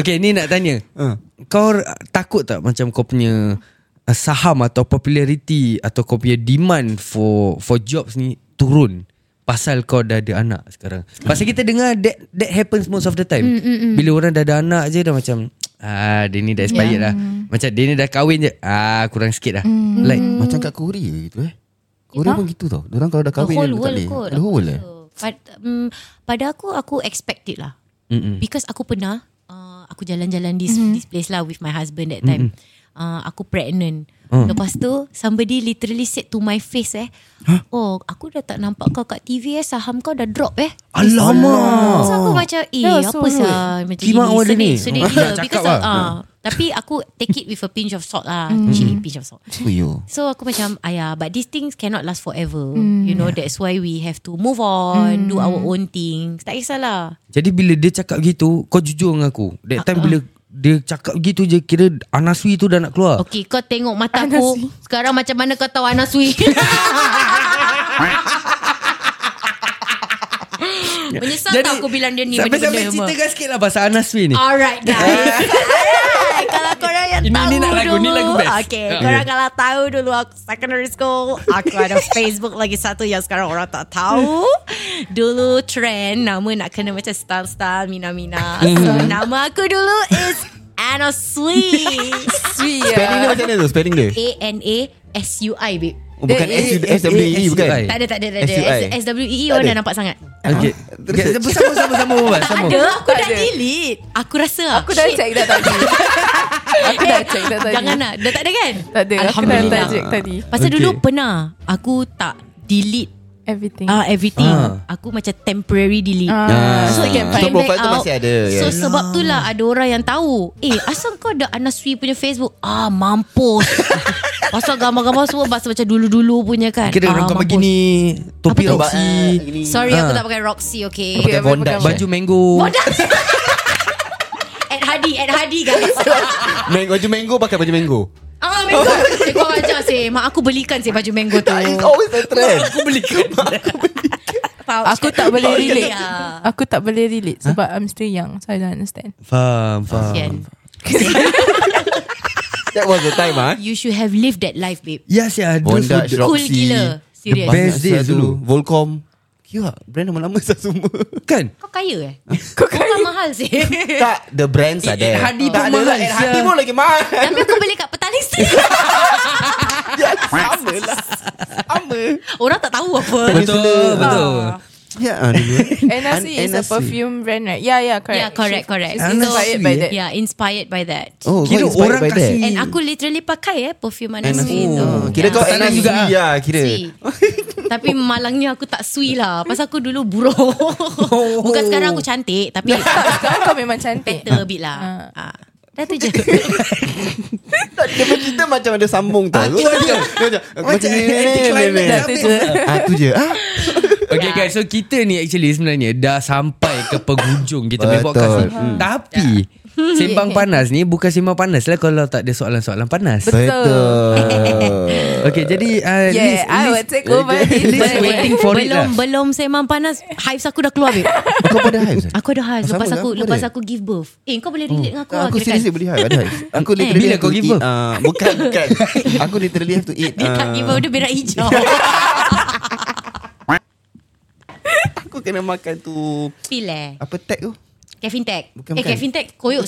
Okay ni nak tanya
Ha.
Kau r- takut tak Macam kau punya uh, Saham atau popularity Atau kau punya demand For for jobs ni Turun Pasal kau dah ada anak sekarang Pasal kita dengar That that happens most of the time mm, mm, mm. Bila orang dah ada anak je Dah macam Ah, dia
Ya.
ni dah expired yeah. lah
Mm.
Macam dia ni dah kahwin je Ah, kurang sikit lah mm. Like
Macam kat Korea gitu eh Korea pun gitu tau Diorang kalau dah
The
kahwin
whole
tak
world
boleh.
kot.
The whole world eh
Pada, um, pada aku aku expect it lah.
Mm-mm.
Because aku pernah uh, aku jalan-jalan this mm-hmm. this place lah with my husband that time. Mm-hmm. Uh, aku pregnant.
Oh.
Lepas tu somebody literally said to my face eh, huh? "Oh, aku dah tak nampak kau kat TV eh, saham kau dah drop eh."
Alamak
So aku macam Eh
Yeah,
apa
so rude.
sah Macam
Kimak awal dia ni.
Sedih Sedih
Oh,
gila
tak cakap
Because
lah.
uh, Tapi aku Take it with a pinch of salt lah Chili pinch of salt
Yo.
So aku macam Ayah but these things Cannot last forever You know that's why We have to move on Do our own things Tak kisahlah
Jadi bila dia cakap gitu Kau jujur dengan aku That
Ah,
time bila Dia cakap gitu je Kira Anaswi tu dah nak keluar
Okay kau tengok mata aku Sekarang macam mana kau tahu Ana Sui Menyesal tak aku bilang dia ni
Sampai-sampai
kan
benda-benda Ah.
ceritakan sikit lah Pasal Anaswi ni
Alright guys Alright, Kalau korang yang
Ini-
tahu
ini nak lagu,
dulu
ni lagu best.
Okay
Ah.
Korang kalau tahu dulu Aku secondary school Aku ada Facebook lagi satu Yang sekarang orang tak tahu Dulu trend Nama nak kena macam style-style Mina-mina So nama aku dulu is Anna Sui
Sweet
Spelling dia
ya.
macam mana tu? Spelling dia?
Eh, A-N-A-S-U-I babe
Oh, bukan
Eh, eh,
S-
eh,
SWE
eh,
bukan?
SUI.
E. Tak ada tak ada tak ada
SUI.
S- E. SWEE orang dah nampak sangat
Ah. Okay Okay, Sama sama sama Muhammad, Sama
Ada aku
Tak
dah
ada.
delete Aku rasa
Aku dah
Shit.
check dah tadi Aku dah check dah tadi
Jangan lah Dah tak ada kan
Tak ada Aku dah
Alhamdulillah
check tadi
Pasal
Okay.
okay. dulu pernah Aku tak delete
Everything
uh, everything
Ah.
Aku macam temporary delete
Ah.
So it can
Ah.
find
So, profile
back
tu
out
masih ada, ya?
So
yes.
sebab tu lah Ada orang yang tahu Eh asal kau ada Anaswi punya Facebook Ah mampus Pasal gambar-gambar semua Pasal macam dulu-dulu punya kan
Kira
ah,
orang kau
mampus.
begini Topi
Apa tu?
Roxy
Sorry aku
Ah.
tak pakai Roxy okay
Apa tu?
Pakai
Pakai
Bondi
Baju mango
Bodoh At Hadi At Hadi guys
Mango Baju mango pakai baju mango
Ah mango Eh kau ajar sih Mak aku belikan sih baju mango tu
It's always the trend Aku beli
Pouch
Aku
kat-
tak boleh
Pouch Ah.
relate
dia.
Aku tak boleh relate Sebab I'm still young So I don't understand
Faham
Kesian.
faham
That was the time ah.
You should have lived that life babe
Yes ya
Bonda
Bonda
Cool
Roxy
gila. Serious.
The best
Best
days
days
dulu
dulu.
Volcom Kira brand lama-lama sah semua
Kan
Kau kaya eh Kau kaya mahal sih
Tak The brands
Eh,
ada
eh, Hadi
Tak
pun
ada
mahal,
lah, eh,
sia.
Hadi
ya.
pun lagi mahal
Tapi aku beli kat petani sih
Ya sama lah Sama
Orang tak tahu apa
Betul Betul
Ya ah, dulu
And Nasi is a
NRC.
perfume brand right Yeah yeah Ah, correct
Yeah Ya, correct
She's-
correct
She's inspired by that
Yeah inspired by that
Oh
Kira
kau inspired
orang
by that.
kasih-
And aku literally pakai eh Perfume
NRC.
Anasui tu
Oh, Kira kau
Pesanan
NRC
juga,
juga
ah.
Ya kira
Sui. Tapi malangnya aku tak sui lah Pasal aku dulu buruk
Oh.
Bukan sekarang aku cantik Tapi
Sekarang kau memang cantik
better a bit lah Ah. Dah tu je
Tak, dia pun kita Kan macam ada sambung tau.
tu aja.
Macam ni ni ni ni. Ah tu je. Ah.
Okay
Ya.
guys So kita ni actually sebenarnya Dah sampai ke penghujung Kita punya
Betul.
podcast ni Tapi Sembang panas ni Bukan sembang panas lah Kalau tak ada soalan-soalan panas
Betul.
Okay jadi uh,
Yeah
Liz,
I
Liz,
would take over
Liz
this
waiting for it lah
Belum belum semang panas Hives aku dah keluar babe
Kau pada hives. eh?
Aku ada hives
Sama
Lepas
lah,
aku
aku
Lepas
ada.
aku give birth Eh kau boleh relate dengan aku lah
Aku
kirakan.
seriously boleh hive. Ada hives. Aku literally
Eh, Bila
have to
kau give
eat,
birth?
ah, Bukan bukan. Aku literally have to eat.
Dia tak
ah,
give birth Dia berak hijau
Aku kena makan tu
Pil eh
apa tag tu?
Kevin Tech
Bukan,
Eh
bukan.
Kevin Tech Koyok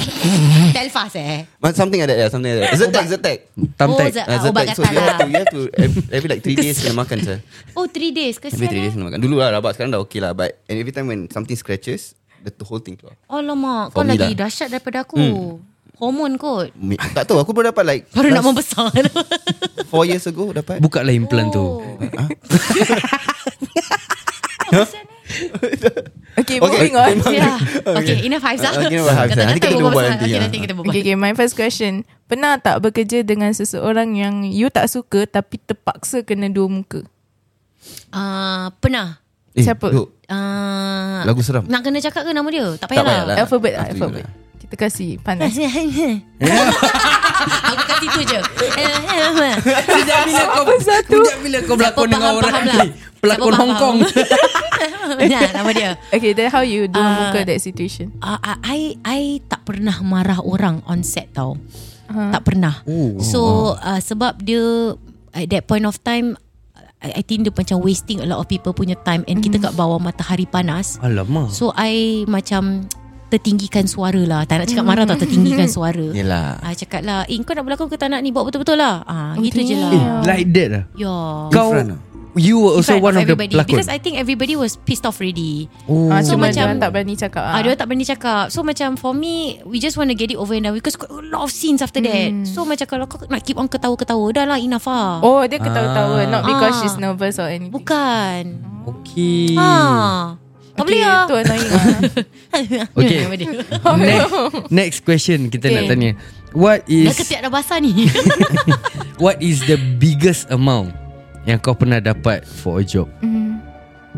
Telfast eh
Mas- Something like that yeah, Something like that Zetag Zetag
Thumbtack.
Oh, za-
Ah,
ah, Ubat
Zetag So you have to
gatal
You
lah
have to Every, every like 3 days Kena makan sah
Oh 3 days
Every 3
Kesian
days
eh
kena makan Dulu lah rabak Sekarang dah okay lah But and every time when Something scratches The whole thing keluar
Alamak
For
Kau
me
lagi
lah. Hmm.
dahsyat daripada aku Hormon kot
Mi- Tak tahu Aku baru dapat like
Baru nak
last
membesar
Four years ago dapat
Buka lah implant tu
Oh.
Okay Okay, moving on.
Yeah. Okay, enough Haifzah.
Okay, enough Haifzah. Nanti kita berbual nanti,
Okay,
ya.
nanti kita berbual.
Okay, okay, my first question. Pernah tak bekerja dengan seseorang yang you tak suka tapi terpaksa kena dua muka?
Ah, Pernah.
Eh,
Siapa?
Dok,
Ah,
Lagu seram.
Nak kena cakap ke nama dia? Tak
Tak
payahlah.
payahlah. Ah,
alphabet lah,
ah, tu
alphabet.
je lah.
Kita kasih panas.
Aku kat situ je.
Sejak bila kau satu. Sejak bila kau berlakon
Siapa
dengan
faham,
orang
faham
ni?
lah.
Pelakon
Siapa
Hong Kong.
faham, Nah, nama dia.
Okay, then how you dua
Ah.
muka that situation?
Uh, I I tak pernah marah orang on set tau. Uh-huh. Tak pernah.
Oh.
So uh, sebab dia at that point of time I, I think dia macam wasting a lot of people punya time and kita kat bawah matahari panas.
Alamak.
So I macam tertinggikan suara lah. Tak nak cakap marah tau tertinggikan suara.
Yelah.
Ah cakap lah, "Eh kau nak berlakon ke tak nak ni? Buat betul-betul lah." Ah gitu je lah.
Eh, like that lah.
Ya.
Kau
front lah.
You were
In
also one
front
of the
everybody.
pelakon
Because I think everybody was pissed off already.
Oh.
Ah, so
So
macam
macam-
tak berani cakap.
Ah,
Ah,
dia orang tak berani cakap. So macam for me, we just want to get it over and done with because got a lot of scenes after that. So macam kalau kau nak keep on ketawa-ketawa, dah lah enough lah.
Oh, dia ketawa-tawa. Not because
Ah.
she's nervous or anything.
Bukan.
Oh, Okay
Ah. Tak boleh
Okay,
lah.
Tu annoying ah.
Okay.
Nama dia.
next, next question kita okay. nak
Okay.
tanya What is
Dah ketiak dah basah ni.
What is the biggest amount Yang kau pernah dapat For a job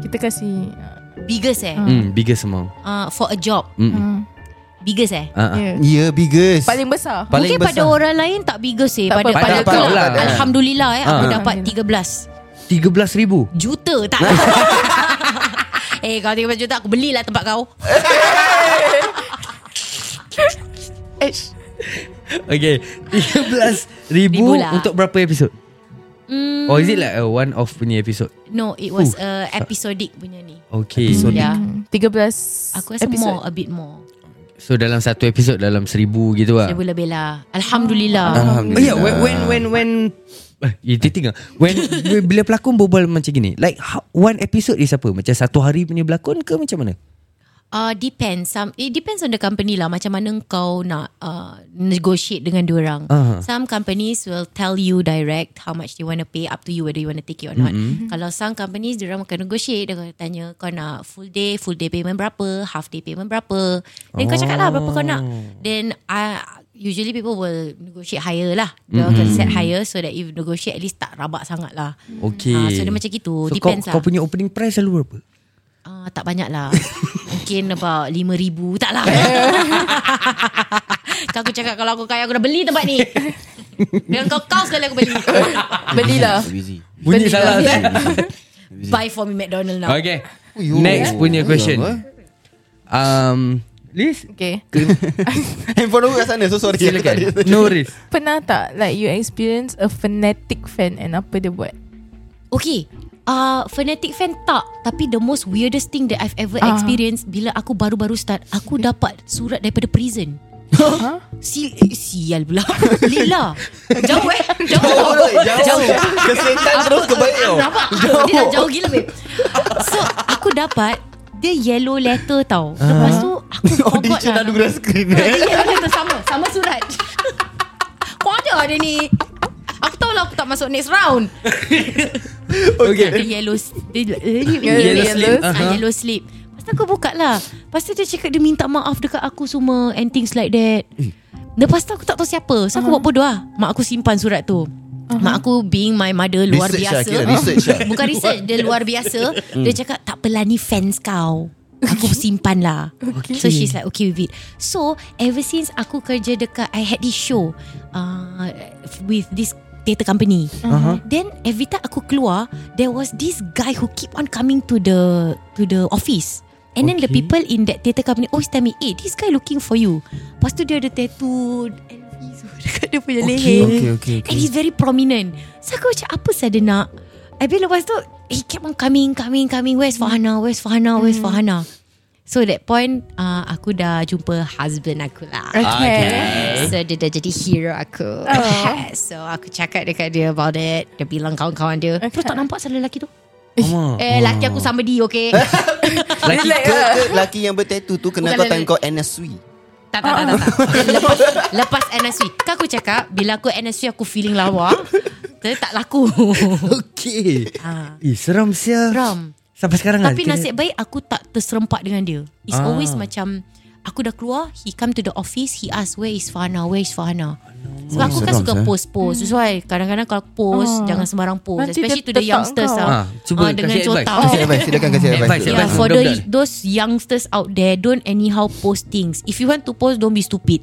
Kita ah, kasih
biggest eh.
Hmm Biggest amount
Uh, for a job. Hmm.
Mm-mm.
Biggest eh.
Ah,
ah.
ah.
yeah.
Ya, biggest.
Paling besar
Paling
Mungkin pada
besar.
orang lain tak biggest eh.
Tak
pada
apa,
pada
tak
aku
apa,
lah.
tak apa.
Alhamdulillah eh. Aku
Ah.
dapat 13.
13 ribu
Juta tak Eh kalau 13 juta Aku belilah tempat kau
Eh,
Okay 13 ribu
Ribu lah.
Untuk berapa episod
mm,
Or is it like a one off punya episod
No it was uh, Episodic punya ni Ya.
Okay
yeah.
13
Aku rasa
Hmm, episode.
more A bit more
So dalam satu episod Dalam seribu gitu lah
Dia boleh bela Alhamdulillah
Oh yeah, when when when when Eh, Itu tinggal When Bila pelakon berbual macam gini Like how, One episode is apa Macam satu hari punya berlakon Ke macam mana
uh, Depends some, It depends on the company lah Macam mana kau nak uh, Negotiate dengan diorang
Ah.
Some companies will tell you direct How much they want to pay Up to you whether you want to take it or not
Mm-hmm.
Mm-hmm. Kalau some companies Diorang akan negotiate Dia akan tanya Kau nak full day Full day payment berapa Half day payment berapa Then oh. kau cakap lah Berapa kau nak
Oh.
Then I, Usually people will Negotiate higher lah Dia
Mm-hmm.
akan set higher So that if negotiate At least tak rabak sangat lah
Okay
Ah, So dia macam
so,
gitu
kau,
Depends lah
kau punya opening price selalu berapa
Ah, tak banyak lah Mungkin about 5,000 Tak lah Kau aku cakap Kalau aku kaya Aku dah beli tempat ni Dengan kau kau sekali aku beli
Belilah
Busy.
Bunyi
lah.
salah
Belilah.
Buy for me McDonald now
Okay Next punya question Um Liz
Okay
Handphone aku kat sana So sorry aku tak
Silakan
ada-
No Riz
Pernah tak Like you experience A fanatic fan And apa dia buat
Okay Uh, fanatic fan tak Tapi the most weirdest thing That I've ever
Ah.
experienced Bila aku baru-baru start Aku dapat surat daripada prison si, eh, Sial pula Lila Jauh eh Jauh
Jauh Kesetan terus kebaik tau
Rabak Dia dah jauh gila babe So aku dapat Dia yellow letter tau
Ah.
Lepas tu Aku
Oh,
forgot
Audition
lah
adu green screen
Dia yellow letter sama Sama surat Kau ada ada ni Aku tahu lah aku tak masuk next round
eh?
Okay
Dia yellow s- Dia eh,
Yellow slip.
yellow slip Ah,
Uh-huh.
Aha.
Yellow slip Lepas tu aku buka lah Lepas tu dia cakap Dia minta maaf dekat aku semua And things like that
Eh.
Lepas tu aku tak tahu siapa So aku
Uh-huh.
buat bodoh lah Mak aku simpan surat tu Mak aku being my mother Luar
Research lah,
biasa
kira research lah.
Bukan research Dia luar biasa Hmm. Dia cakap tak apalah ni fans kau Aku simpan lah okay. So she's like okay with it So ever since aku kerja dekat I had this show uh, With this theatre company uh-huh. Then every time aku keluar There was this guy who keep on coming to the To the office And then the
Okay.
people in that theatre company Always tell me Eh this guy looking for you Lepas tu dia ada tattoo Elvis Dekat dia punya leher
Okay okay
Okay. And he's very prominent So aku macam Apa saya dia nak Habis lepas tu He kept on coming Coming coming Where's Farhana Where's Farhana Where's Farhana So that point uh, Aku dah jumpa Husband aku lah
Ah,
Okay
So dia dah jadi hero aku So aku cakap dekat dia about it Dia bilang kawan-kawan dia Terus tak nampak salah lelaki tu
Mama.
Eh lelaki aku somebody okay
Lelaki
Ke, ke lelaki yang bertatu tu Kena
Bukan
kau time
lelaki.
kau NSW
Tak tak tak tak, tak. Lepas, lepas NSW Kan aku cakap Bila aku NSW aku feeling lawa Tapi tak laku
Okay
Ah.
Eh seram sial
Ram
Sampai sekarang
Tapi
lah,
nasib
kita-
baik aku tak terserempak dengan dia. It's
Ah.
always macam aku dah keluar, he come to the office, he ask where is Fahana, where is Fahana. Sebab
Oh,
aku kan
seram,
suka
sah.
eh.
post-post. That's why kadang-kadang kalau post, jangan sembarang
Ah.
post.
Nanti dia
Especially to the
tetap
youngsters
kau.
lah.
Ah, cuba
dengan
kasih advice.
cotak.
Kasih advice Silakan kasih
Advice,
advice
advice.
Yeah,
Betul,
for
betul.
the, those youngsters out there, don't anyhow post things. If you want to post, don't be stupid.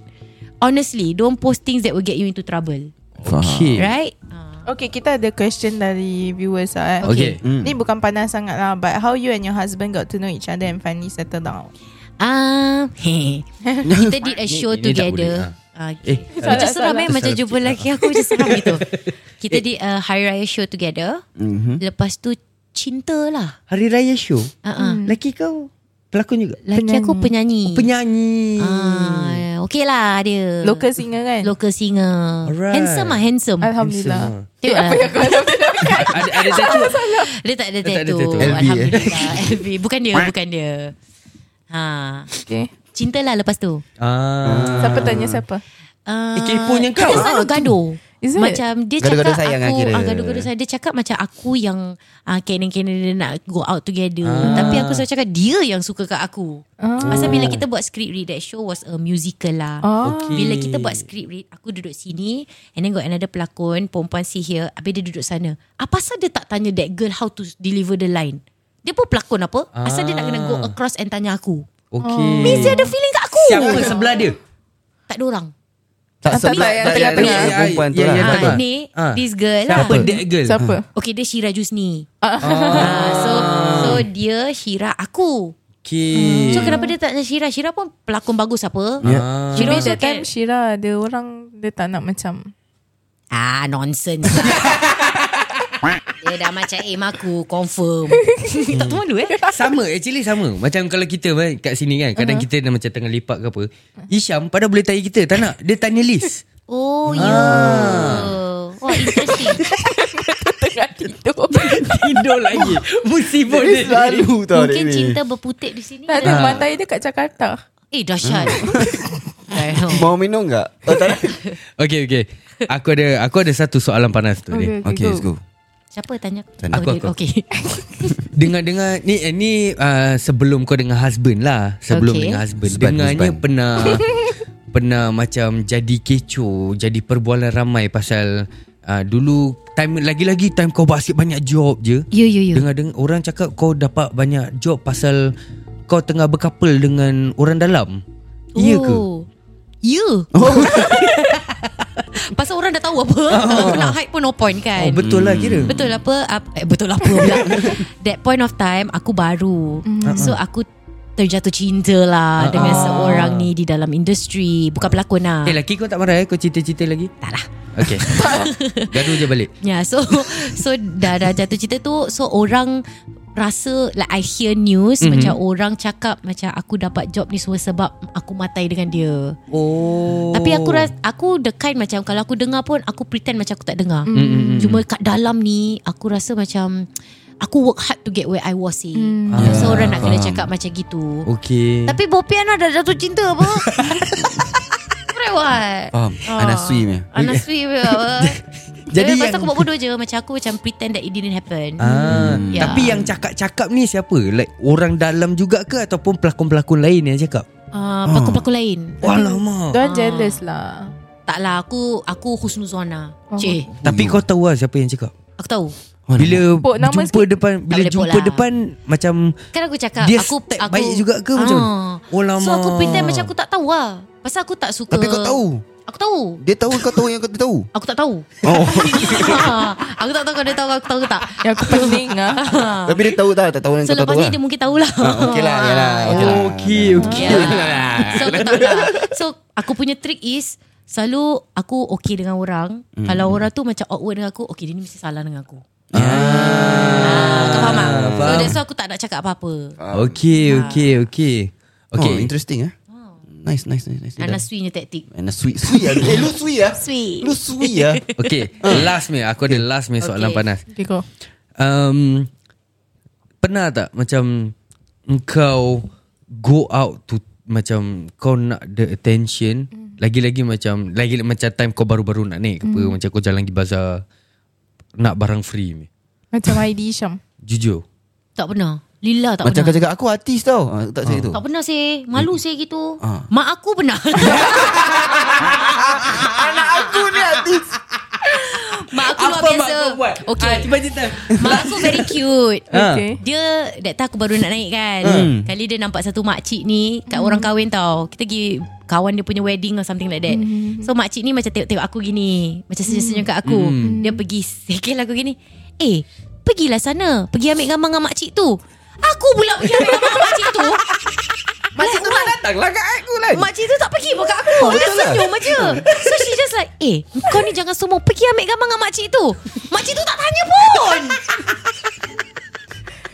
Honestly, don't post things that will get you into trouble.
Okay.
Right? Ah.
Okay, kita ada question dari viewers lah. Eh.
Okay.
Hmm.
Ni bukan panas sangat lah But how you and your husband Got to know each other And finally settle down
Ah, uh, kita did
Ini-
a show
ini tak boleh,
together. Ah, okay.
Eh,
macam
salah,
seram eh
salah.
Macam jumpa lelaki aku Macam seram gitu Kita di uh, Hari Raya show together
Mm-hmm.
Mhm.
Lepas tu Cinta lah
Hari Raya show.
Hmm.
uh-uh.
Laki kau pelakon juga.
Lelaki aku penyanyi
Oh, Penyanyi.
ah, Okay lah dia
Local singer kan
Local singer
Alright.
Handsome lah handsome
Alhamdulillah
Handsome
Tengok lah
kan?
ada ada tattoo.
Dia tak ada
Dia tak ada
tattoo
tattoo.
LV, eh.
Alhamdulillah LV. Bukan dia Bukan dia ha.
Okay
Cinta lah lepas tu
Ah.
Siapa tanya siapa
Uh,
Eh, kepohnya kau.
Kita selalu
Ah, tu.
gaduh
Is it?
Macam dia
Gaduh-gaduh
cakap
sayang
aku
lah kira.
ah, Gaduh-gaduh saya Dia cakap macam aku yang ah, Kena-kena dia nak go out together
Ah.
Tapi aku selalu cakap Dia yang suka kat aku Pasal bila kita buat script read That show was a musical lah
Oh.
Okay.
Bila kita buat script read Aku duduk sini And then got another pelakon Perempuan see here Habis dia duduk sana Apa pasal dia tak tanya that girl How to deliver the line Dia pun pelakon apa Asal dia nak kena go
Ah.
across And tanya aku
Okey.
Mesti Oh. ada feeling kat aku
Siapa sebelah dia?
Tak ada orang
Tak
Ah, tak
sebelah
payah,
Tak
tengah-tengah.
payah tengok yang perempuan tu
Ya,
lah
ya, tak
ah,
apa.
Ni
Ah.
This girl lah
Siapa that girl?
Siapa
Okay dia Shira Jusni ah, So so dia Shira aku
Okay.
Hmm. So kenapa dia tak macam Shira Shira pun pelakon bagus apa
Ya.
Ah.
Shira
Maybe
also
that time
can
Shira Ada orang Dia tak nak macam
Ah nonsense Dia dah macam aim aku Confirm Tak tahu malu eh
Sama actually sama Macam kalau kita kan, kat sini kan Kadang uh-huh. kita dah macam tengah lipat ke apa Isham padahal boleh tanya kita Tak nak Dia tanya list
Oh ya Wah interesting
Tengah tidur
Tidur lagi Musibah
Dia
dia
selalu tau dia
Mungkin
ni.
cinta berputik di sini
Tak ada Bantai dia kat Jakarta
Eh dahsyat
Mau minum tak? Oh, tak
Okay okay Aku ada Aku ada satu soalan panas tu okay.
Okay, Okay, let's
go
Siapa tanya aku?
Aku,
Oh, dia-
aku.
Okay
Dengar-dengar Ni eh, ni uh, sebelum kau dengan husband lah Sebelum
Okay.
dengan husband
Husband,
Dengarnya
husband.
pernah Pernah macam jadi kecoh Jadi perbualan ramai pasal uh, Dulu time Lagi-lagi time kau basket banyak job je
Yo yo yo
Dengar-dengar orang cakap kau dapat banyak job pasal kau tengah berkapal dengan orang dalam. Iya ke?
Oh. Ya oh. Pasal orang dah tahu apa Aku nak hide pun no point
Ah, Oh,
kan
betul lah kira.
Betul apa ap- eh, Betul apa pula That point of time Aku baru
Mm.
So
Ah,
aku Terjatuh cinta lah Dengan seorang ni Di dalam industri Bukan pelakon lah
Eh laki kau tak marah eh kau cerita-cerita lagi?
Tak lah
Okay. Gaduh je balik.
Ya yeah, so So dah, dah jatuh cinta tu So orang Rasa Like I hear news mm-hmm. Macam orang cakap Macam aku dapat job ni Semua sebab Aku matai dengan dia
Oh.
Tapi aku ras, aku the kind macam kalau aku dengar pun aku pretend macam aku tak dengar. Mm. Cuma kat dalam ni aku rasa macam aku work hard to get where I was eh. Mm.
Ah,
so orang nak kena
faham.
cakap macam gitu.
Okay.
Tapi Bopian dah jatuh cinta apa? Right what?
Faham
Ah.
Anak sui punya
Anak sweet ke apa?
Jadi
Oh, Jadi Lepas
yang-
tu aku buat bodoh je Macam aku macam pretend that it didn't happen
Ah,
Hmm.
yeah. tapi
Ya.
yang cakap-cakap ni siapa? Like orang dalam juga ke ataupun pelakon-pelakon lain yang cakap?
Ah, Pelakon-pelakon lain
Alamak.
Diorang jealous lah
Tak lah aku Aku husnuzona Cik
Tapi kau tahu lah siapa yang cakap?
Aku tahu
Bila
Pok nama
jumpa
sikit.
depan bila
boleh pok
jumpa
lah.
depan macam
Kan aku cakap
Dia
aku,
step
aku, Ah.
baik juga ke macam mana? Oh, lama.
So aku pretend macam aku tak tahu lah Pasal aku tak suka
Tapi kau tahu
Aku tahu
Dia tahu kau tahu yang kau tak tahu
Aku tak tahu
Oh
Aku tak tahu kalau dia tahu Aku tahu ke tak
Yang aku pening lah
Tapi dia tahu tak Tak tahu yang
Ah. So
kau tak
lepas
tahu
ni
lah
dia mungkin tahulah
Ah, Okey lah ya lah, Okey
Oh,
lah
Okey, okey.
Yeah. So aku tak tahu lah. So aku punya trick is Selalu aku okay dengan orang
Hmm.
mm. Kalau orang tu macam awkward dengan aku Okay dia ni mesti salah dengan aku ah, Kau faham tak? So
faham.
that's why aku tak nak cakap apa-apa
Okey, okey, okey.
Okay
Okey.
interesting eh
Oh.
Nice nice nice nice
Anak sui punya taktik
Anak sui Sui lah Eh lu sui lah
Sui.
Lu sui lah
Okay Last me Aku ada last me soalan
Okay.
panas
Okay go
um, Pernah tak Macam Engkau Go out to Macam Kau nak the attention Lagi-lagi macam Lagi macam time kau baru-baru nak naik ke apa Macam kau jalan pergi bazar Nak barang free ni
Macam ID Syam
Jujur
Tak pernah. Lila tak
Macam kau
pernah.
cakap aku artis tau Ah, Tak cakap tu
Tak pernah sih. Malu sih gitu. Mak aku pernah.
Anak aku ni artis
mak aku luar biasa.
Ah,
Okay.
cerita
mak aku very cute.
Okay.
Dia That time aku baru nak naik kan Kali dia nampak satu makcik ni Kat orang kahwin tau Kita pergi Kawan dia punya wedding Or something like that So makcik ni macam tengok-tengok aku gini Macam senyum-senyum kat aku Dia pergi Sekil aku gini Eh Pergilah sana Pergi ambil gambar dengan makcik tu Aku pula pergi ambil gambar dengan makcik tu Makcik tu tak datang
lah kat aku lah
Makcik tu tak pergi pun kat aku Dia
betul lah.
senyum aja So she just like Eh kau ni jangan semua Pergi ambil gambar dengan makcik tu Makcik tu tak tanya pun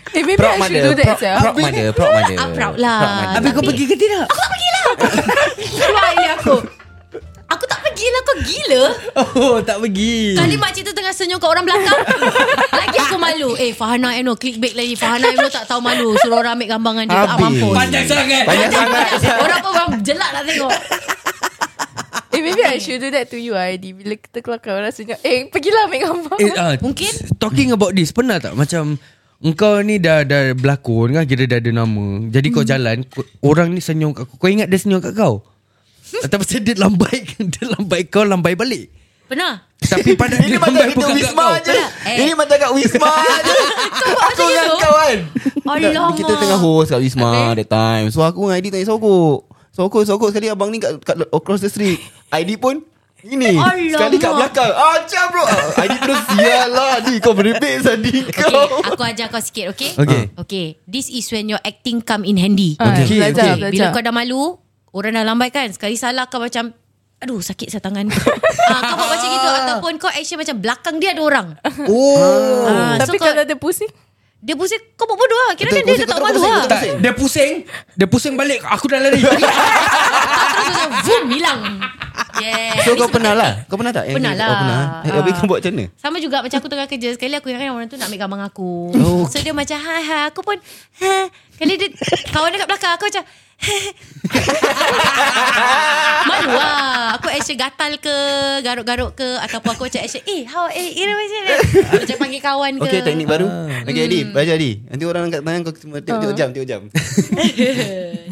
Eh, maybe
Proud
I should
mother
do that
Proud,
sia.
proud mother Proud mother
Ah, proud lah.
Proud mother.
Habis kau pergi ke tidak?
Keluar air aku Aku tak pergi lah kau gila
Oh tak pergi
Kali makcik tu tengah senyum kat orang belakang Lagi aku malu Eh Fahana Eno clickbait lagi Fahana Eno tak tahu malu Suruh orang ambil gambar dengan dia Ah
Habis.
mampus
Panjang sangat
Banyak sangat
Orang pun orang jelak nak tengok
Eh, maybe I should do that to you, Aidy. Bila kita keluar kat orang senyum. Eh, pergilah ambil gambar.
eh, ah,
Mungkin.
Talking about this Pernah tak macam Engkau ni dah dah berlakon kan Kira dah ada nama Jadi kau jalan kau, Orang ni senyum kat kau Kau ingat dia senyum kat kau? Atau pasal dia lambai Dia lambai kau Lambai balik
Pernah
Tapi pada
Ini
dia
macam
lambai
kita
bukan kat
Wisma
kau
je
Eh.
Ini macam kat Wisma je Aku dengan kau kan
Ya Alamak
Kita tengah host kat Wisma That time So aku dengan Aidy tanya sokok Sokok sokok sekali abang ni kat, kat across the street Aidy pun ini
Alamak.
Sekali kat belakang Ah macam bro Ah, Aidy terus Sial lah Ni kau merepek Sadi
Okay,
kau
aku ajar kau sikit, okay? Ah.
Okay.
Okay, this is when your acting come in handy.
Ah,
Okay, okay.
belajar, belajar.
Bila kau dah malu Orang dah lambat kan Sekali salah kau macam Aduh sakit saya tangan ah, Kau buat macam gitu Ataupun kau action macam Belakang dia ada orang
Oh
ah,
Tapi
so kau,
kalau dia pusing,
Dia pusing Kau buat bodoh lah Kira
Betul,
kan dia,
pusing,
dia tak
kau
malu
pusing,
lah
betul,
tak, Dia pusing Dia pusing balik Aku dah lari
Terus macam Vroom hilang Yeah
So kau pernah lah Kau pernah tak Yang-
Ah. Pernah lah
Oh, pernah Eh, Habis kau buat macam mana
Sama juga macam aku tengah kerja Sekali aku ingatkan orang tu Nak ambil gambar dengan aku
Oh,
So dia macam ha ha Aku pun ha Kali dia Kawan dekat belakang Aku macam "Ha, Malu lah Aku action gatal ke Garuk-garuk ke Ataupun aku macam action Eh how Eh ini macam ni Macam panggil kawan ke
Okay teknik baru Okay Adi
Hmm.
Belajar Adi Nanti orang angkat tangan kau cuma
Ah.
Tengok tengok jam Tengok jam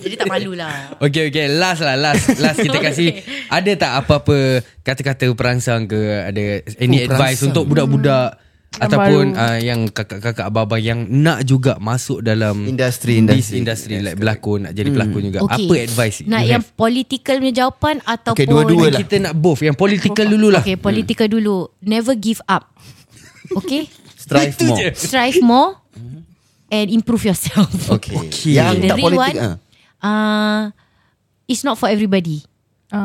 Jadi tak malu lah
Okay okay Last lah last Last kita kasih Ada tak apa-apa Kata-kata perangsang ke Ada Any
Oh,
advice
perangsang.
Untuk budak-budak
Yang
Ataupun
baru.
uh, Yang kakak-kakak Abang-abang Yang nak juga masuk dalam
Industri,
This
industri.
industry
Yes, Hmm.
Like berlakon Nak jadi pelakon juga Apa advice
Nak
you
yang
have?
political punya jawapan Ataupun
dua-dua lah. Hmm.
Yang Kita nak both Yang political dulu lah
Okay political dulu Never give up Okay
Strive
Itu
more
je.
Strive more And improve yourself
Okay.
Okay.
Yang
The
tak
real
politik
one
ah.
uh, It's not for everybody
ah.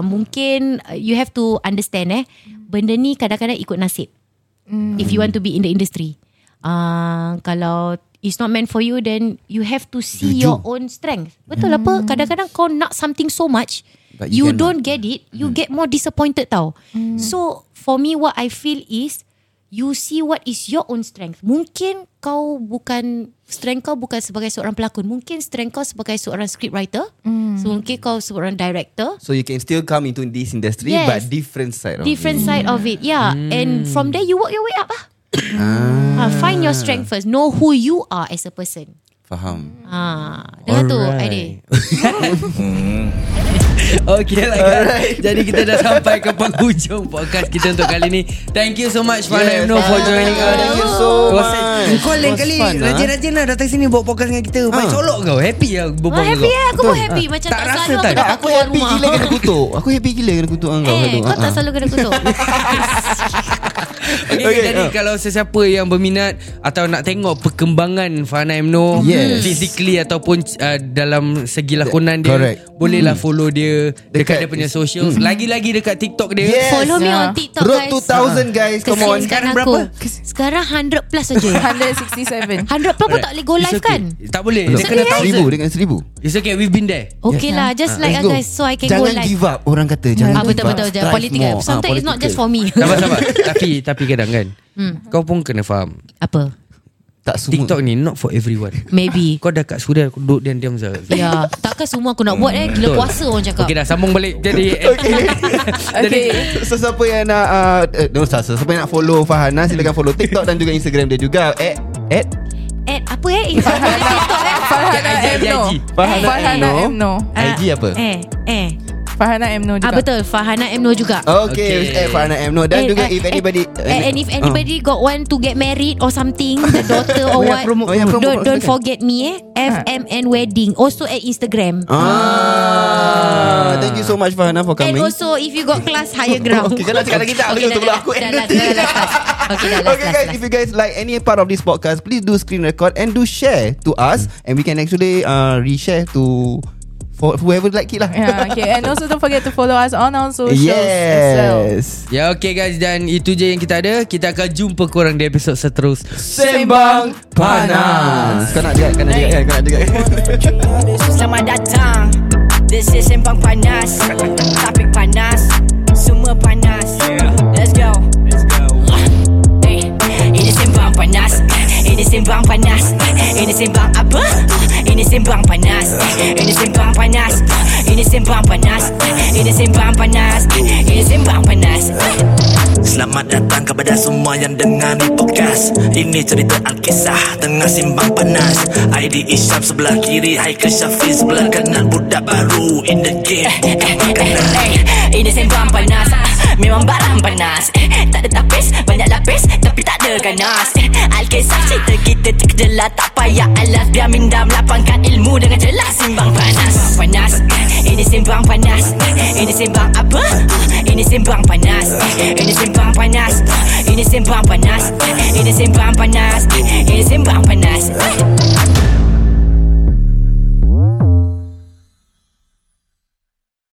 uh, Mungkin uh, You have to understand eh Benda ni kadang-kadang ikut nasib If you want to be in the industry uh, Kalau It's not meant for you Then you have to see Your own strength Betul apa Kadang-kadang kau nak something so much
But you cannot.
You,
Hmm.
don't get it You get more disappointed tau So For me what I feel is You see what is your own strength Mungkin kau bukan Strength kau bukan sebagai seorang pelakon Mungkin strength kau sebagai seorang scriptwriter So mungkin kau seorang director
So you can still come into this industry
Yes.
but different side of
different
it.
side of it. Yeah, and
Hmm.
from there you work your way up ah. Ah, find your strength first. Know who you are as a person.
Faham.
Ah, dengar tu, Aidil.
Okay lah kan Jadi kita dah sampai ke penghujung podcast kita untuk kali ni Thank you so much
Yes,
Farhan Ibnu for
Farhan.
joining us
Thank you so
Was-
much.
Kau
It
lain
was
kali
fun, ah.
Rajin-rajin lah datang sini buat podcast dengan kita Main
Ah.
colok kau Happy lah berbual
Wah,
dengan
happy
kau.
eh. Aku pun happy. Macam
Tak
tak,
rasa
selalu
tak?
aku dapat
aku
keluar
happy
rumah.
gila kena kutuk. Aku happy gila kena kutuk dengan kau.
Eh,
Hello.
kau tak
Ah, ah.
selalu kena kutuk.
Okay,
Okay,
jadi
ah.
kalau sesiapa yang berminat Atau nak tengok perkembangan Farhan Ibnu
Yes.
Physically ataupun uh, dalam segi lakonan dia
Correct. Hmm.
Bolehlah follow dia Dekat,
Dekat- Hmm.
dia punya social Lagi-lagi dekat TikTok dia
Yes.
Follow me
Ah.
on TikTok,
Road
guys. Ah.
2000 guys. Come on.
Sekarang
Sekarang
aku. Sekarang 100 plus saja.
167.
100 plus kau tak boleh go
It's
live
okay.
kan?
Tak boleh
Hello.
Dia kena
Seribu
1000
dengan seribu.
It's okay we've been there
Okay lah, just like
Let's
ah
go.
guys so I can go
Jangan
live.
give up Orang kata Jangan
Ah
give
betul
up
betul betul.
Strive
Political.
more. Ah,
Sometimes it's not
political.
just for me.
Sabar sabar Tapi Tapi kadang kan
Hmm.
Kau pun kena faham
Apa?
Tak semua
TikTok ni not for everyone
Maybe.
Kau dah kat suria Kau duduk diam-diam saja
Ya, takkan semua aku nak buat eh Gila puasa orang cakap
Okay dah sambung balik Jadi eh, Okay
Okay.
So siapa yang nak eh, uh, uh, no, Siapa yang nak follow Fahana Silakan follow TikTok dan juga Instagram dia juga At At
At apa eh Instagram TikTok eh
Farhana M No
Farhana
Farhana M No
Ah,
IG apa?
Eh eh
Farhana M No
Ah
juga
betul Farhana M Noor juga
Okay,
Okay.
okay. At Farhana M. No, dan
Eh,
juga
eh,
if anybody... Ah.
eh, and if anybody got one to get married or something the daughter
Oh,
or
yeah,
what
promote, yeah, promote,
don't, don't
silakan.
forget me eh FMN wedding also at Instagram
Ah, thank you so much Farhana for
and
coming.
also if you got class higher ground
Okay, kau nak cakap lagi tak? Aku tunggu aku
dah,
end
dah,
nanti.
dah, dah, dah, dah. Okay dah last
okay
last,
guys,
last.
if you guys like any part of this podcast, please do screen record and do share to us, and we can actually uh, reshare to for whoever like it lah.
Ah,
Yeah, okay. And also don't forget to follow us on our socials as well.
yes.
Ya okay guys Dan itu je yang kita ada Kita akan jumpa korang di episod seterusnya
Sembang panas. Kau nak juga, kau nak juga, kan? kau nak juga.
Selamat datang This is Sembang Panas Topik panas Semua panas Let's go Eh, Ini Sembang Panas Ini Sembang Panas Ini Sembang apa? Ini Sembang Panas Ini Sembang Panas Ini Sembang Panas Ini Sembang Panas Ini Sembang Panas
Selamat datang kepada semua yang dengar ni podcast Ini cerita Alkisah tengah simbang panas ID Isyam sebelah kiri Haikal Syafiq sebelah kanan Budak baru in the game bukan makanan
Eh, Ini Sembang Panas Ah, Memang barang panas Eh, Tak ada tapis, banyak lapis Tapi tak ada ganas Eh, Alkisah cerita kita terkejelah Tak payah alas Biar minda melapangkan ilmu dengan jelas Sembang Panas Sembang Panas Eh, Ini Sembang Panas Eh, Ini Sembang apa? Ah, Ini Sembang Panas Eh, Ini Sembang Panas Ah, Ini Sembang Panas Eh, Ini Sembang Panas Eh, Ini